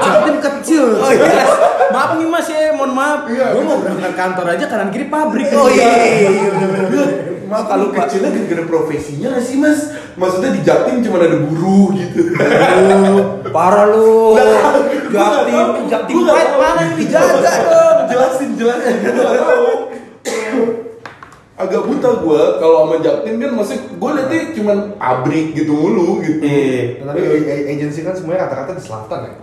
Jaktim kecil. Oh iya. maaf nih Mas ya, mohon maaf. Gue mau berangkat kantor aja kanan kiri pabrik. Oh iya. Maaf kalau kecilnya gara-gara profesinya nggak sih mas? Maksudnya di Jatim cuma ada buruh gitu. Parah lu. Jatim, Jaktim, Jaktim Pride mana nih dijaga dong. jelasin jelasin gue gak tahu agak buta gue kalau sama Jaktim kan masih gue liatnya cuman pabrik gitu mulu gitu Iya. Ya, tapi a- a- agency kan semuanya rata-rata di selatan ya.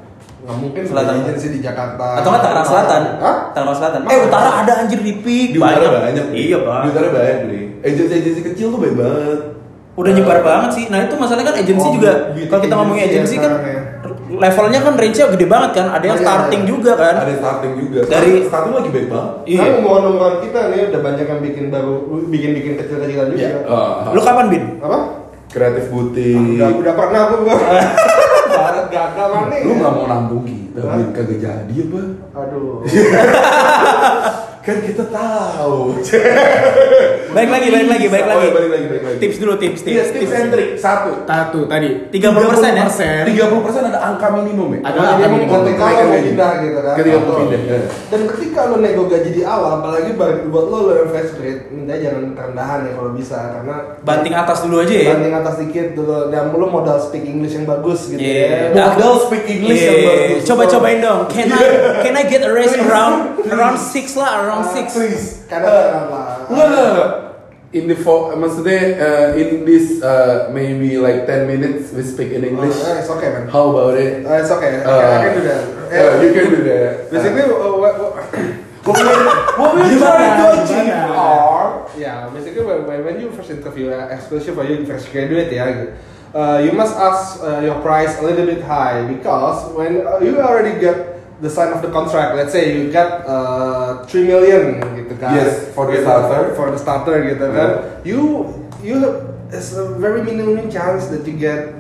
nggak mungkin Selatan. selatan agensi di Jakarta Atau nggak Tangerang Selatan? Hah? Tangerang Selatan. Eh Mana? utara ada anjir di PIK, Di utara banyak. Bri. Iya pak. Di utara banyak beli. Agensi-agensi kecil tuh banyak banget. Udah nyebar banget sih. Nah itu masalahnya kan agensi Oh, juga. beauty Kalau kita ngomongin agency ya agensi kan sekarang ya. levelnya kan range-nya gede banget kan. Ada yang Ada, starting ada. juga kan. Ada starting juga. Dari- starting lagi baik banget. Sekarang Iya. umuran-umuran kita nih udah banyak yang bikin baru bikin-bikin kecil-kecilan juga. Ah, Lu kapan bin? Apa? kreatif butik. Udah, udah pernah aku gua. Barat gagal nih. Lu nggak mau nambung kita, Hah? Bin. kagak jadi apa? Aduh. Iya, Kan kita tahu. Baik lagi, baik lagi, baik Oh, lagi. iya, balik lagi, balik lagi. Tips dulu, tips, Iya, tips, tips tips. and trick. Satu. Satu tadi. 30% ya? 30%. 30% ada angka minimum ya? Ada Nah, angka dia mau minimum. konten kalau mau pindah gitu kan. Ketika mau Atau- pindah, ya. Dan ketika lo nego gaji di awal, apalagi buat buat lo lo yang fresh grade, minta jangan rendahan ya kalau bisa karena Banting atas dulu aja ya. banding atas dikit dulu dan lo modal speak English yang bagus gitu Yeah. ya. Nah, Modal speak English yang Iya, bagus. Coba cobain dong. Can I can I get a raise around around six lah, around Ah, six. Please. Karena Eh, kenapa? Enggak, enggak, enggak. In the fo- maksudnya uh, in this uh, maybe like 10 minutes we speak in English. Oh, it's okay, man. How about it? Uh, it's okay. Uh, I can do that. uh, you can do that. Eh, Basically, uh, what, what, what we what we Gimana? trying to achieve Gimana? are yeah, basically when, when when you first interview, uh, especially for you fresh graduate ya, gitu, uh, you must ask uh, your price a little bit high because when uh, you already get the sign of the contract, let's say you get uh, 3 million gitu kan. Yes, for the starter. For the starter gitu kan. You you it's a very minimum chance that you get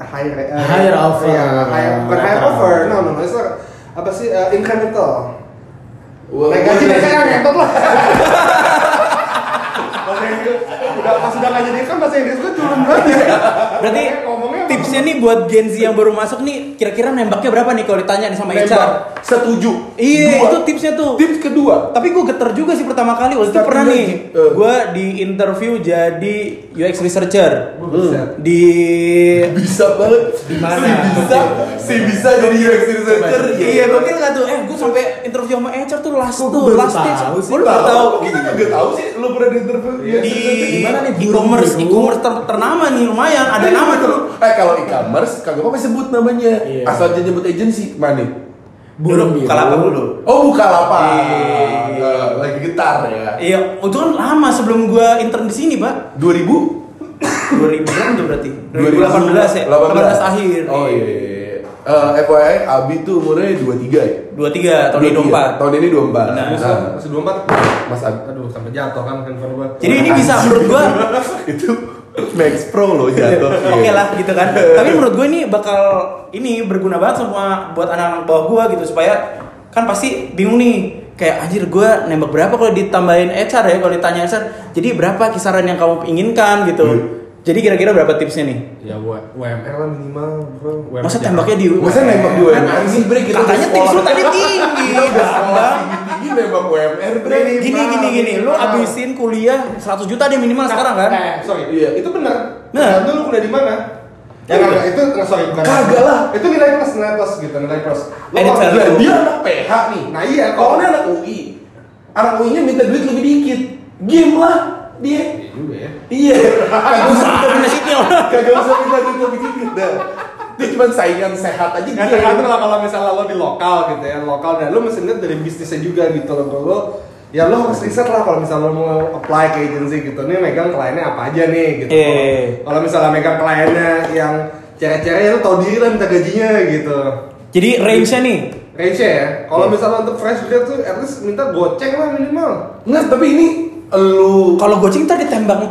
higher uh, Higher offer. Yeah, higher, bukan Better higher offer. offer. No, no, no. It's not, apa sih uh, incremental. Well, Naik gaji what- naik kan ya, ngentot lah. Bahasa Inggris- udah pas udah nggak jadi kan bahasa Inggris gue turun banget ya. Berarti Ngomongnya apa? tipsnya nih buat Gen Z yang baru masuk nih kira-kira nembaknya berapa nih kalau ditanya nih sama Nembak. HR? Setuju. Iya, Dua. itu tipsnya tuh. Tips kedua. Tapi gue geter juga sih pertama kali waktu itu Tapi pernah dia- nih eh. gue di interview jadi UX researcher Gua bisa. di Bisa banget. Di mana? Si bisa, si bisa jadi UX researcher. Iya gokil gak tuh? Eh gue sampai interview sama HR tuh last Kok tuh gua baru last stage. tahu sih? Gue baru tahu Iya, Kita kagak tahu sih lu pernah di interview UX di researcher di mana nih? e-commerce Burung, e-commerce ter- ternama nih lumayan ada Eh, nama betul. tuh. Eh kalau e-commerce kagak apa-apa sebut namanya. Iya. Asal aja nyebut agensi mana? Burung gitu. biru. Kalapak dulu. Oh buka lapak. Iya. Eh, lagi getar ya. Iya, itu kan lama sebelum gue intern di sini pak. 2000 2000 berapa tuh berarti? 2018 ya. 18 akhir. Oh iya. iya, iya. Eh, FYI Abi tuh umurnya 23 ya. Iya, 23 Iya, tahun ini 24. Tahun ini 24. Benar. Nah, Masih dua empat. Mas Abi. Aduh sampai jatuh kan handphone gue. Jadi ini bisa menurut gue itu Max Pro loh ya, Iya. jatuh. oke lah gitu kan. Tapi menurut gue ini bakal ini berguna banget sama buat anak-anak bawah gue gitu supaya kan pasti bingung nih kayak anjir gue nembak berapa kalau ditambahin HR ya kalau ditanya HR jadi berapa kisaran yang kamu inginkan gitu Hmm. jadi kira-kira berapa tipsnya nih Ya gua UMR lah minimal. bro. UMR masa jangan. tembaknya di Masa nembak di Kan UMR sih Bre? Kita udah katanya tips lu sekolah. tadi tinggi Kita udah sekolah Bambang. tinggi-tinggi nembak UMR Bre. Bre, gini gini gini lu abisin kuliah 100 juta deh Nah, minimal sekarang kan Eh sorry. Iya. Itu benar. Benar. Tergantung lu kuliah di mana. Ya Iya. kagak itu sorry bukan. Kagak lah. Itu nilai plus nilai plus gitu nilai plus. Lu Eh, nilai kalau Nah, kuliah dia di- anak PH nih. Nah iya Kalau kalau ini Ya, anak UI, anak UI-nya minta duit lebih dikit. Game lah dia. Iya juga ya. Iya. Kagak usah Apaan sih ini orang? kagak usah minta duit lebih dikit dah. Dia cuma saingan sehat aja Ya game. tergantung lah kalau misalnya lo di lokal gitu ya lokal dan lo mesti lihat dari bisnisnya juga gitu loh kalau lo ya lo harus riset lah kalau misalnya lo mau apply ke agency gitu nih megang kliennya apa aja nih gitu Iya, Eh. kalau misalnya megang kliennya yang cewek-cewek ya lo tau diri lah minta gajinya gitu jadi range nya nih range ya Iya. kalau misalnya untuk fresh grade tuh at least minta goceng lah minimal Nggak, tapi ini elu kalau goceng ntar ditembak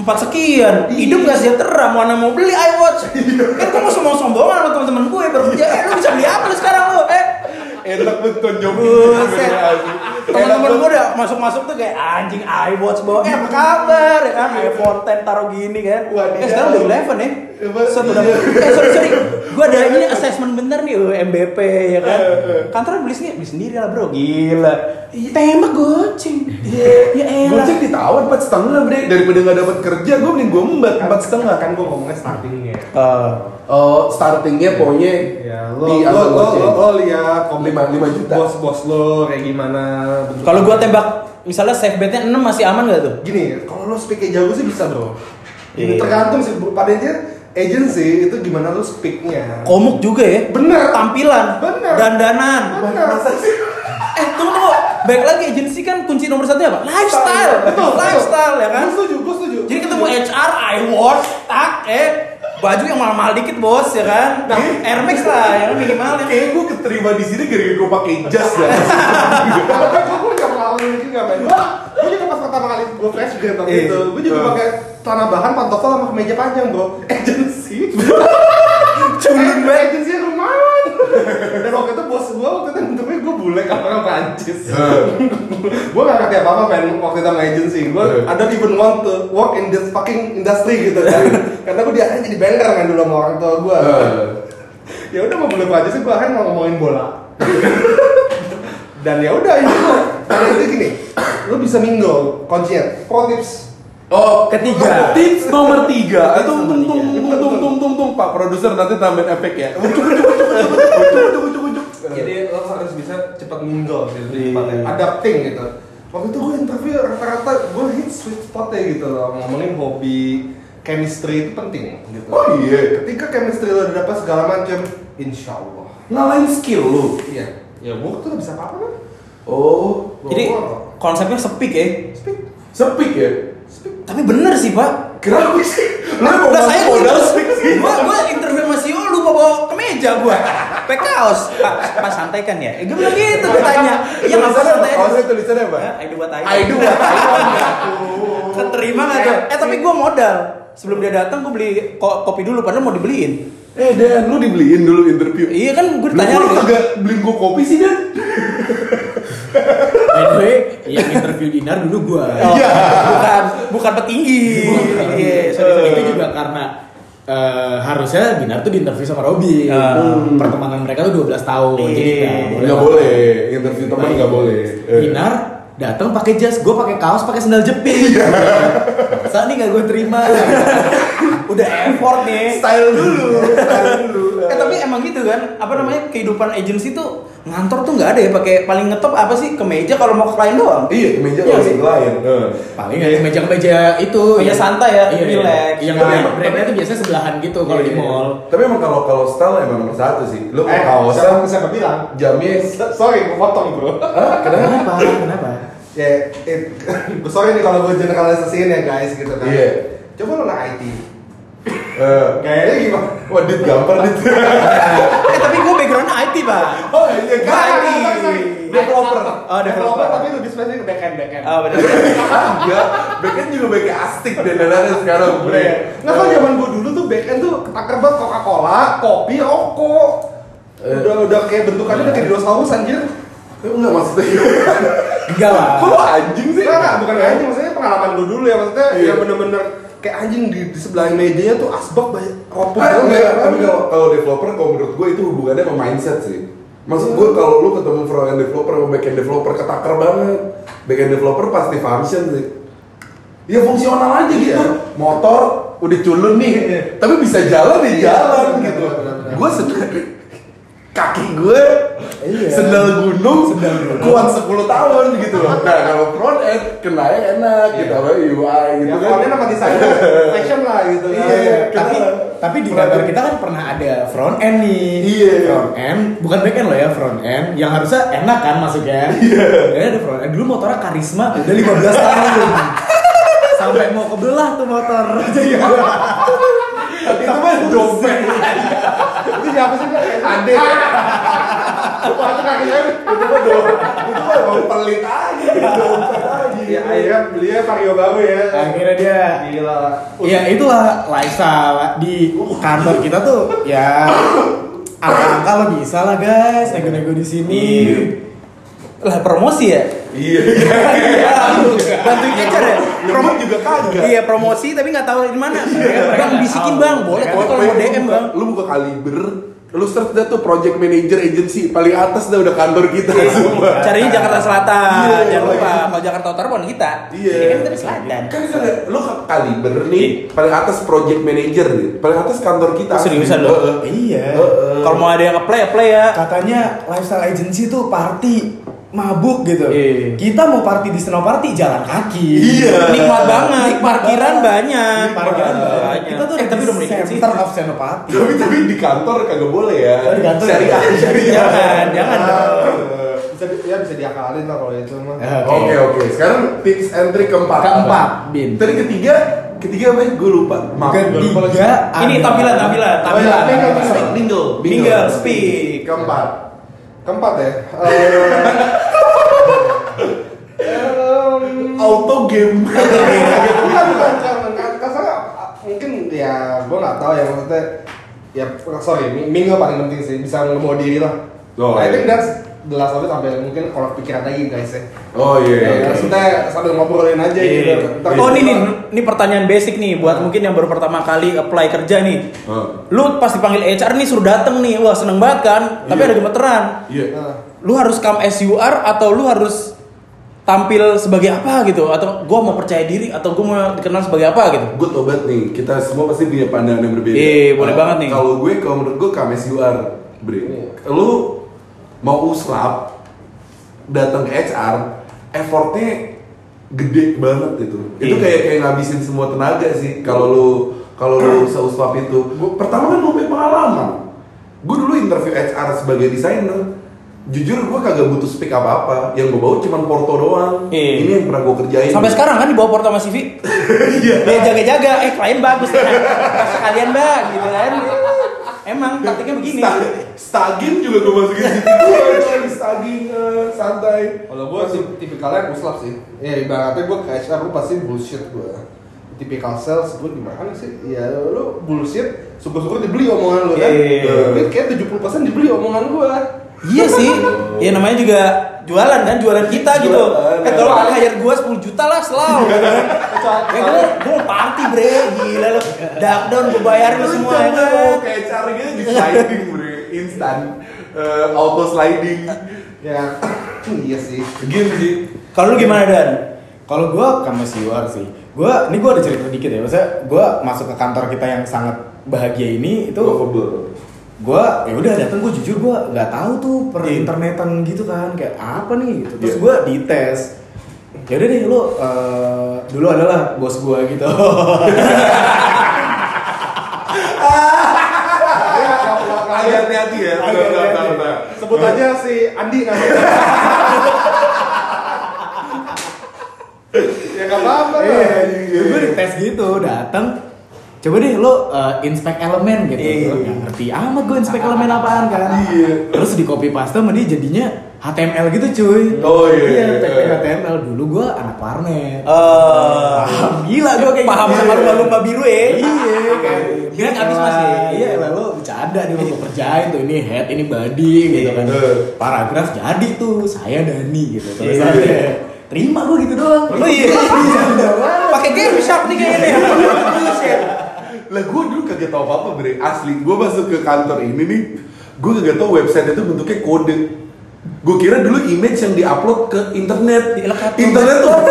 4 4 sekian Iya. hidup gak sejahtera mana mau beli iWatch kan kamu semua sombongan sama teman-teman gue bekerja eh lu bisa beli apa lu sekarang lu eh enak banget tonjokin. Buset. Iya, teman-teman gue udah masuk-masuk tuh kayak anjing iWatch bawa eh apa kabar ya kan iPhone 10 taruh gini kan Wah, eh dia- sekarang udah 11 ya Apa? Set, udah- Iya. eh sorry sorry gue ada ini assessment bentar nih uh, MBP ya kan Iya, kantor beli sendiri beli sendiri lah bro gila tembak goceng Iya. ya elah Gocek ditawar empat setengah bre daripada nggak dapat kerja gue mending gue embat empat setengah kan gue ngomongnya startingnya Eh, Oh startingnya pokoknya ya lo di lo angka lo, Iya, goceng. lo, lo lihat komik- Lima- lima juta. bos-bos lo kayak gimana bentuk- kalau gue tembak misalnya safe betnya 6 masih aman gak tuh gini kalau lo speaknya jago sih bisa bro Iya. tergantung sih pada intinya agency itu gimana lu speaknya Komuk juga ya. Bener. Tampilan. Bener. Dandanan. Bener. Eh tunggu tunggu. Baik lagi agensi kan kunci nomor satu apa? Lifestyle. Betul, betul. Lifestyle ya kan. Gue setuju, gue setuju. Jadi ketemu HR, iWatch, tak eh baju yang mahal-mahal dikit bos ya kan. Nah, Air Max lah yang minimal ya. Kayaknya gue keterima di sini gara-gara gue pakai jas ya. Gue gue gak mengalami mungkin gak main. Gue gue juga pas pertama kali gue flash grade waktu Eh, itu. Gue juga eh. pakai celana bahan, pantofel sama kemeja panjang bro. Agency. Culun banget. Agency rumahan. Dan waktu itu bos gue waktu itu bentuknya gue bule kan orang Prancis. gue gak ngerti apa apa men waktu itu sama agency. Gue Eh. ada even want to work in this fucking industry gitu kan. Karena gue diarahnya jadi banker kan dulu sama orang tua gue. ya udah mau beli aja sih gue akhirnya mau ngomongin bola dan ya udah itu karena itu gini lu bisa mingle kuncinya pro tips Oh, Ketiga. Tips nomor tiga. Itu tung tung nomor tung tung tung tung tung Pak produser nanti tambahin efek ya. jadi lo harus bisa cepat mingle gitu Iya. cepatnya. adapting gitu waktu itu gue interview rata-rata gue hit sweet spotnya gitu loh ngomongin hobi chemistry itu penting gitu Oh iya. ketika chemistry lo udah dapat segala macam insya Allah Ngalahin skill lu. iya ya gue tuh gak bisa apa-apa kan Oh, Jadi konsepnya sepik ya. speak sepik ya. Tapi bener sih pak. Kenapa sih? Lu mau Udah saya ngomong modal modal speak sih. Nah, Gua gua interview sama CEO lupa bawa kemeja gua. Pakai kaos. Pak, Pak santai kan ya? Eh, Gua bilang gitu gua tanya. Eh, Iya nggak Tulisannya apa? santai. Kaosnya tulisannya apa? I do what I I do what I want. Keterima nggak tuh? Eh tapi gue modal. Sebelum dia datang gue beli ko- kopi dulu padahal mau dibeliin. Eh Dan, lu dibeliin dulu interview. Iya kan gue Lu ditanya kok lu kagak beliin gua kopi sih Dan? By the way, yang interview dinar dulu gua. Oh, Iya. bukan bukan petinggi. Iya, sorry, sorry. itu juga karena eh, harusnya Binar tuh diinterview sama Robby. Ah. Hmm, Pertemanan mereka tuh 12 tahun. Jadi Iya. nggak boleh. Enggak boleh, interview teman enggak boleh. Eh. Binar datang pakai jas, gue pakai kaos, pakai sandal jepit. Iya. Saat ini gak gue terima. Udah effort nih. Style dulu, style dulu. Eh tapi emang gitu kan, apa namanya kehidupan agensi tuh ngantor tuh nggak ada ya pakai paling ngetop apa sih kemeja kalau mau ke klien doang. Iya, meja Iya kalau sih. sih lain. Eh. Paling ada meja-meja itu. Meja yang- santai ya, Iya, iya. relax. Iya, Yang Tapi brand- emang- brandnya tuh biasanya sebelahan gitu kalau di mall. Tapi emang kalau kalau style emang nomor satu sih. Lu eh kalau siapa, kaosan siapa bilang jamnya sorry gue potong bro Kenapa? Kenapa? ya it, sorry nih kalau gue generalisasiin ya guys gitu kan Iya. coba lo anak IT eh kayaknya gimana wah dit gampar dit. Eh tapi gue background IT pak. Oh iya Nggak, kan. sorry, sorry, sorry. Developer. Oh, developer. tapi lebih spesifik ke backend backend Ah benar. Iya, backend juga pakai astik dan lain sekarang bre. Eh. Boleh. Nah kalau zaman gue dulu tuh backend tuh ketaker banget Coca-Cola, kopi, rokok. Eh. Iya. Udah udah kayak bentukannya udah kayak dinosaurus anjir. Eh, enggak maksudnya. Enggak lah. Kok lu anjing sih? Enggak, enggak, bukan anjing maksudnya pengalaman gue dulu ya maksudnya Iya. yang bener-bener kayak anjing di, di sebelah mejanya tuh asbak banyak rokok. Ah, banget. enggak, tapi kalau kalau developer kalau menurut gue itu hubungannya sama mindset sih. Maksud gue Hmm. kalau lu ketemu front end developer sama back end developer ketakar banget. Back end developer pasti function sih. Ya fungsional aja Iya. gitu. Motor udah culun nih, tapi bisa jalan ya jalan Iya, benar, gitu. benar, benar. Gue sedang kaki gue Iya. sendal gunung kuat 10 tahun gitu loh. Iya. Nah, kalau front end kenanya enak gitu apa UI gitu Ya, kan. pokoknya nama desain fashion lah gitu kan. Iya. tapi tapi di kantor kita kan pernah ada front end nih Iya. front end bukan back end loh ya front end yang harusnya enak kan masuknya iya ada front end dulu motornya karisma udah 15 tahun sampai mau kebelah tuh motor Iya. Tapi jadi itu mah dompet. Itu siapa sih? Ade. Wah, itu kaki saya itu mah do. Itu mah do. Pelit aja, dompet aja. Ya akhirnya belinya vario baru ya. akhirnya dia Gila. ya itulah Laisa di kantor kita tuh ya angka-angka lo bisa lah guys nego-nego di sini Iya. Lah promosi ya. Iya. Bantu HR ya. Nyebut juga kagak. Iya promosi tapi nggak tahu di mana. Bang bisikin bang, boleh tapi Kalau kalau mau pengen DM buka- bang. ya? Lu buka kaliber, lu search dah tuh project manager agency paling atas dah udah kantor kita Iya. semua. Carinya Jakarta Selatan. Iya, Jangan iya. lupa kalau Jakarta Utara bukan kita. Iya. Ini kan kita di selatan. Kan itu ada- lu ke kaliber nih, paling atas project manager nih, paling atas kantor kita. Iya. Oh, seriusan lu? Heeh. iya Heeh. Kalau mau ada yang nge-play, ya play ya. katanya lifestyle agency tuh party mabuk gitu. Iya. Kita mau party di senopati jalan kaki. Iya. Nikmat banget. Nikmat Parkiran banget. banyak. Parkiran banyak. banyak. Kita tuh eh, tapi udah di menikah sih. Iya, center of senopati. Tapi tapi di kantor kagak boleh Iya. ya. Oh, di kantor ya? Syariah, syariah. Jangan, jangan dong. Eh, bisa di- ya bisa diakalin lah kalau itu mah Eh, Oke oke. Sekarang tips and trick keempat. Keempat, Bin. Bin. Tadi ketiga, ketiga apa? ya? Gue lupa. Maaf. Iya. Ketiga Ini ada- tampilan, tampilan, Oh, tampilan. ya, mingle, mingle, mingle, Mingle, speak. Keempat. keempat ya Eh, Auto game. bukan bukan bukan Kas- kasarnya ah, mungkin ya gue nggak tahu ya maksudnya ya sorry mi- minggu paling penting sih bisa ngebawa diri lah Oh, I think iya. that's the last of it sampai mungkin kalau pikiran lagi guys ya Oh iya. Ya, iya, iya. maksudnya sambil ngobrolin aja Iya. gitu Ntar- Oh ini nih, ini pertanyaan basic nih buat mungkin yang baru pertama kali apply kerja nih. Hah. Lu pas dipanggil HR nih suruh dateng nih, wah seneng banget kan? Tapi Iya. ada gemeteran. Iya. Nah, Lu harus come as you are atau lu harus tampil sebagai apa gitu? Atau gua mau percaya diri atau gua mau dikenal sebagai apa gitu? Gue tobat nih, kita semua pasti punya pandangan yang berbeda. Iya, boleh Kalau- banget nih. Kalau gue, kalau menurut gue kames you are, Bre. Lu mau usrap, datang ke HR, effortnya gede banget itu. Itu Iya. kayak kayak ngabisin semua tenaga sih. Kalau lu kalau lu usah usrap itu, Gua- pertama kan lu punya pengalaman. Gue dulu interview HR sebagai desainer, jujur gue kagak butuh speak apa-apa. Yang gue bawa cuma porto doang. Iya. Ini yang pernah gue kerjain. Sampai sekarang kan di bawah portama CV. Iya. Dia jaga-jaga, eh klien bagus kan. Sekalian, Mbak, gitu kan. Emang taktiknya begini. Sta- Stagin juga gue masukin situ gue anjing, Stagin eh, santai. kalau gue sih tipikalnya puslap sih ya ibaratnya gue ke HR lu pasti bullshit gue tipikal sales gue gimana sih ya lu bullshit syukur-syukur dibeli omongan lu kan Iya. kayak 70% dibeli omongan gue Iya sih. Ya namanya juga jualan kan, jualan kita gitu. Jualan. Eh tolong kan hire gua 10 juta lah selalu. Ya gua gua mau party bre, gila lu. Dark down gua bayarin lu semua ya kan. oh, Kayak cara gitu di sliding bro, instan, Eh, auto sliding. ya iya sih Gitu sih. Kalau lu gimana Dan? Kalau gua kamu siwar sih. Gua ini gua ada cerita dikit ya. Maksudnya gua masuk ke kantor kita yang sangat bahagia ini itu Lovable. gua ya udah datang gua jujur gua nggak tahu tuh per internetan gitu kan kayak apa nih gitu. Terus Iya. gua dites. Ya udah deh lu eh, dulu adalah bos gua gitu. Agak hati-hati ya. Agak Agak hati-hati. sebut aja si Andi namanya ya nggak apa-apa Iya, lah. gue dites gitu datang coba deh lo uh, inspect elemen gitu Gua nggak ngerti amat gue inspect elemen apaan kan Iya. terus di copy paste sama dia jadinya HTML gitu cuy Oh, iya. tag-tag HTML dulu gue anak warnet Eh, Ah. Paham, gila gua kayak paham Iya, gitu. sama lumba-lumba biru ya. iya kayak Bilang abis masih. iya lah lo bercanda nih lo kerjain tuh ini head ini body gitu kan Iya. paragraf jadi tuh saya Dani gitu terus Iya. aja, terima gue gitu doang Lu iya. Pakai game sharp nih kayaknya. nih. Iya. Bullshit. Lah gue dulu kagak tau apa-apa bre. Asli, gue masuk ke kantor ini nih, gue kagak tau website itu bentuknya kode. Gue kira dulu image yang diupload ke internet, Dilekat. internet tuh apa?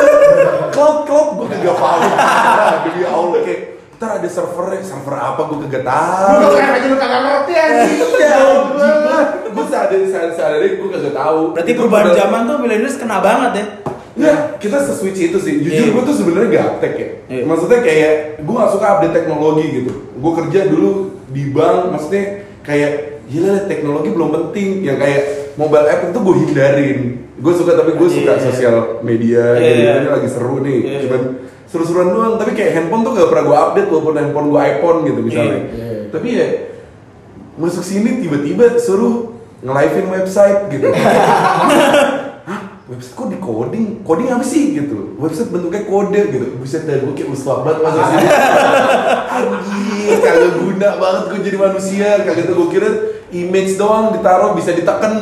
cloud cloud gue kagak paham. Nah, Demi Allah kayak, ntar ada servernya, server apa gue kagak lu tahu. kalau kayak aja lu kagak ngerti anjing Iya, gue sadari sadari gue kagak tahu. Berarti Itu perubahan bener- zaman tuh millennials kena banget ya. Ya, kita se-switch itu sih. Jujur Iya. gue tuh sebenarnya gaptek ya. Iya. Maksudnya kayak gue gak suka update teknologi gitu. Gue kerja dulu di bank, maksudnya kayak gila lah teknologi belum penting. Yang kayak mobile app itu gue hindarin. Gue suka tapi gue suka Iya. sosial media, Iya. jadi ini lagi seru nih. Iya. Cuman seru-seruan doang, tapi kayak handphone tuh gak pernah gue update walaupun handphone gue iPhone gitu misalnya. Iya. Tapi ya masuk sini tiba-tiba suruh nge-live-in website gitu. website kok di coding coding apa sih gitu website bentuknya kode gitu buset dah gue kayak uslap banget masuk sini anjir kagak guna banget gue jadi manusia kagak tuh gue kira image doang ditaruh bisa ditekan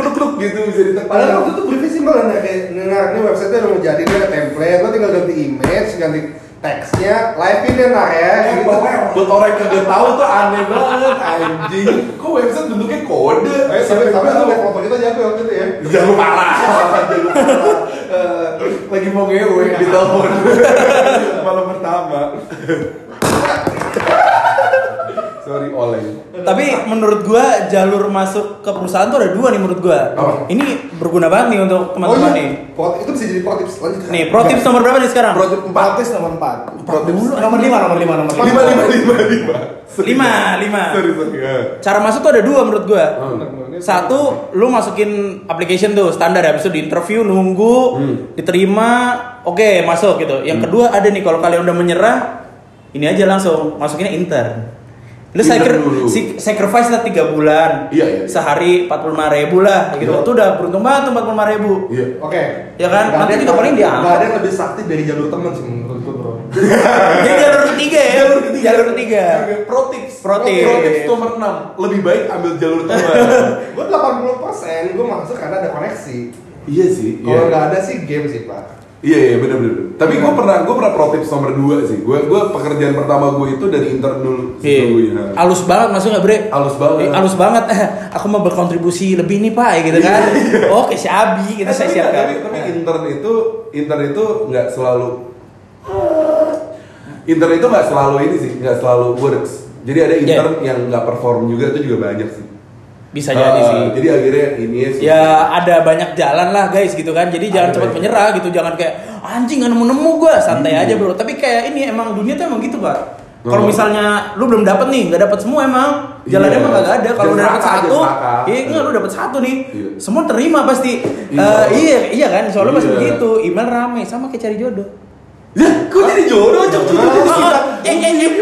kluk kluk gitu bisa padahal ditekan waktu itu briefnya simpel kan ya kayak dengar ini website udah mau jadi ini ada template lo tinggal ganti image ganti teksnya live in ya nah ya gitu. Eh, buat orang yang kagak tahu tuh aneh banget anjing kok website bentuknya kode eh tapi tapi lu lihat foto kita jatuh waktu itu ya Jangan Iya, parah. Jangan parah. Eh, lagi mau ngewe di telepon. Malam pertama. Sorry oleng. Tapi menurut gua jalur masuk ke perusahaan tuh ada dua nih menurut gua. Apa? Oh, iya. Ini berguna banget nih untuk teman-teman nih. Oh, iya. Pro- itu bisa jadi pro tips lanjut. Nih, pro tips nomor berapa nih sekarang? Pro tip empat. Artis nomor 4 Pro tips Nomor lima, nomor lima, nomor lima. lima lima lima lima. Lima, lima. Sorry sorry. ya. Cara masuk tuh ada dua menurut gua. Hmm. Satu, lu masukin application tuh standar habis itu di interview nunggu, Hmm. diterima, oke masuk gitu. Yang kedua ada nih kalau kalian udah menyerah, ini aja langsung masukinnya intern. Lu Intern sacri- dulu. si- sacrifice lah 3 bulan. Iya, iya, iya. Sehari 45 ribu lah gitu. Iya. Itu udah beruntung banget tuh 45 ribu. Iya. Oke. Ya kan? Nggak Nanti ada- juga paling diangkat. nggak ada yang lebih sakti dari jalur teman sih menurut gue, Bro. Jadi jalur ketiga ya. Jalur ketiga. Oke, Pro tips. Pro tips. Pro tips nomor enam. Lebih baik ambil jalur tua. Gue 80% gue masuk karena ada koneksi. Iya sih. Kalau Iya. nggak ada sih game sih, Pak. Iya iya benar benar. Tapi gue pernah gue pernah pro tips nomor 2 sih. Gue gue pekerjaan pertama gue itu dari intern dulu. Iya. sesungguhnya. Alus banget masuk nggak bre? Alus banget. Eh, alus banget. Eh, aku mau berkontribusi lebih nih pak, gitu kan? Oke, si Abi, gitu Eh, saya Iya, tapi nggak, siapkan. Tapi, tapi intern itu intern itu nggak selalu intern itu nggak selalu ini sih nggak selalu works. Jadi Iya. ada intern yang nggak perform juga itu juga banyak sih. Bisa jadi Eh, sih. Jadi akhirnya ini ya. Iya. sih. Ya ada banyak jalan lah guys gitu kan. Jadi Ada jangan ya. cepat banyak. menyerah gitu. Jangan kayak anjing gak nemu-nemu gua, Hmm. santai aja bro. Tapi kayak ini emang dunia tuh emang gitu, Pak. Kalau Oh. misalnya lu belum dapet nih, gak dapet semua emang. Jalannya Iya. emang gak ada. Jangan Kalau udah dapet serakah, satu, jangan serakah. iya enggak lu dapet satu nih. Iya. Semua terima pasti. Iya. Eh, iya, iya kan. Soalnya masih Iya. begitu. Email rame sama kayak cari jodoh. Ya, kok jadi jodoh cok cok, cok, cok, Oh, kita. oh, eh, eh, eh.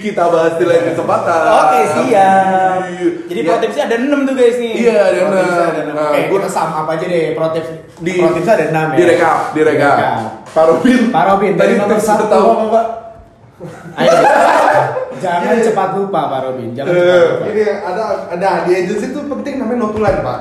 Kita bahas di lain kesempatan. Oke, siap. Jadi Ya, pro tipsnya ada 6 tuh guys nih. Iya, ada Pro tipsnya ada enam. enam. Nah, Oke, gua- kita sum up aja deh pro tips. di pro tipsnya ada 6 ya. direkap direkap Direkap. parobin Pak Robin, tadi dari nomor tips satu udah tahu apa, Pak? Ayo. Jangan cepat lupa, Pak Robin. Jangan cepat lupa. Iya. Eh, Ini ada ada di agency tuh penting namanya notulan, Pak.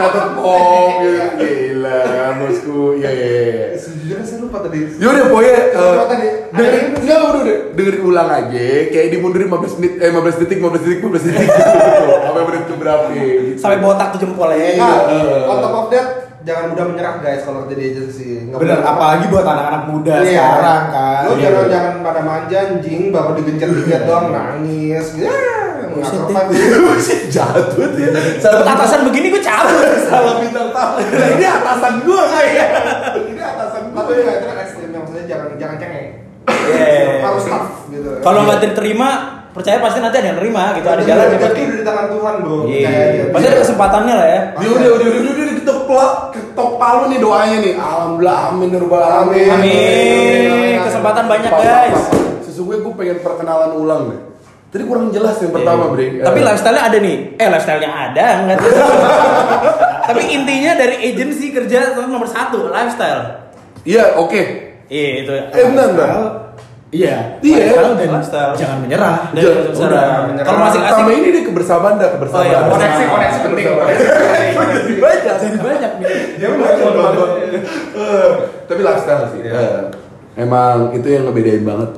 kata pong gitu. gila bosku ya ya ya. Sejujurnya saya lupa tadi. yaudah pokoknya eh, Lupa tadi. dengerin enggak udah udah dengerin ulang aja kayak dimundurin 15 menit eh 15 detik 15 detik 15 detik gitu. sampai menit ke berapa gitu. Sampai botak tuh jempolnya. Eh, ya. nah, Iya. on top of that, jangan mudah menyerah guys kalau kerja di agency. Nggak Bener, boleh- apalagi buat anak-anak muda Iya. sekarang kan. Lo Iya. jangan jangan pada manja anjing, baru digencet-gencet doang nangis. Ya, nggak Buset, survive. jatuh dia Dapat atasan begini gue cabut. salah bintang tamu Nah, ini atasan gua ya. kayak Ini atasan gue. Tapi ya, itu kan ekstrimnya maksudnya jangan jangan cengeng. Iya. Harus tough gitu. Kalau nggak diterima, percaya pasti nanti ada yang nerima gitu, ada jalan Rezeki Iya, cepat. udah di tangan Tuhan, Bro. Percaya Iya, aja. pasti ada kesempatannya lah ya. dia udah udah udah udah udah ketok pelak ketok palu nih doanya nih alhamdulillah amin ya rabbal alamin Amin. Amin, kesempatan banyak guys. Sesungguhnya gue pengen perkenalan ulang deh. Tadi kurang jelas yang pertama, Bre. Iya. Eh, Tapi lifestyle-nya ada nih. Eh, lifestyle-nya ada, nggak tahu. Tapi intinya dari agensi kerja tetap nomor satu, lifestyle. Iya, oke. Iya, itu. Eh, bentar, bentar. Sekarang- Iya. Iya. Sekarang dan Lifestyle. jangan menyerah. Dari Udah, unsur udah. sejarah. Kalau masih asik, eh. Sama ini deh kebersamaan dah, kebersamaan. Oh, iya, Koneksi, koneksi penting. koneksi. Jadi banyak. Jadi banyak nih. Dia udah Eh, Tapi lifestyle sih. eh. Emang itu yang ngebedain banget.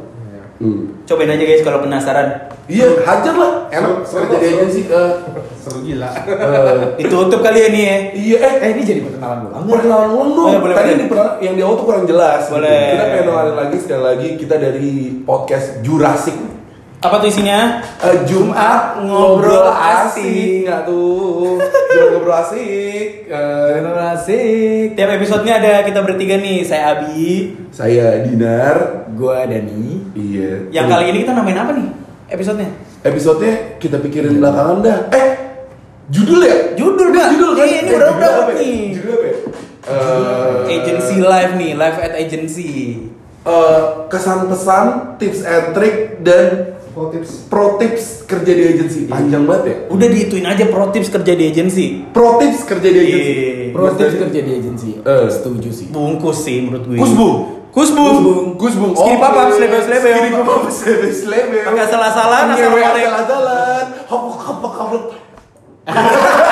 Hmm. cobain aja guys kalau penasaran. Iya, hajar lah. Emang Seru, seperti seru. aja sih. eh, Seru gila. eh, Ditutup kali ya nih ya. Iya, eh Eh, ini jadi perkenalan ulang. Perkenalan ulang dong. Oh, ya, boleh, Tadi boleh. yang di per- yang di awal tuh kurang jelas. gitu. Boleh. Kita pengen kenalin lagi sekali lagi kita dari podcast Jurassic. Apa tuh isinya? Eh, Jumat ngobrol asik nggak tuh? Jumat ngobrol asik. Eh, Asik. Tiap episodenya ada kita bertiga nih, saya Abi. saya Dinar. Gua Dani. Iya. Yang kali ini kita namain apa nih? Episodenya? episode-nya kita pikirin belakangan dah. Eh, judul ya? Iya. Judul, Udah, Pak. judul kan? Iya, Eh, ini udah judul udah apa ya? nih. Judul apa ya? Eh, Agency live nih, live at agency. eh, kesan pesan, tips and trick dan Pro tips. pro tips kerja di agensi panjang banget ya Udah diituin aja pro tips kerja di agency. pro tips kerja di agensi Iya. Pro tips kerja di agensi. Eh. Setuju sih. Bungkus sih menurut gue. Kusbung. Kusbung. Kusbung. Skiri Oke. papap, slebel-slebel. Skiri papap, slebel-slebel. Agak salah-salah, Ngewe asal ngorek. asal-asalan. Hopok, hopok, hopok. ya,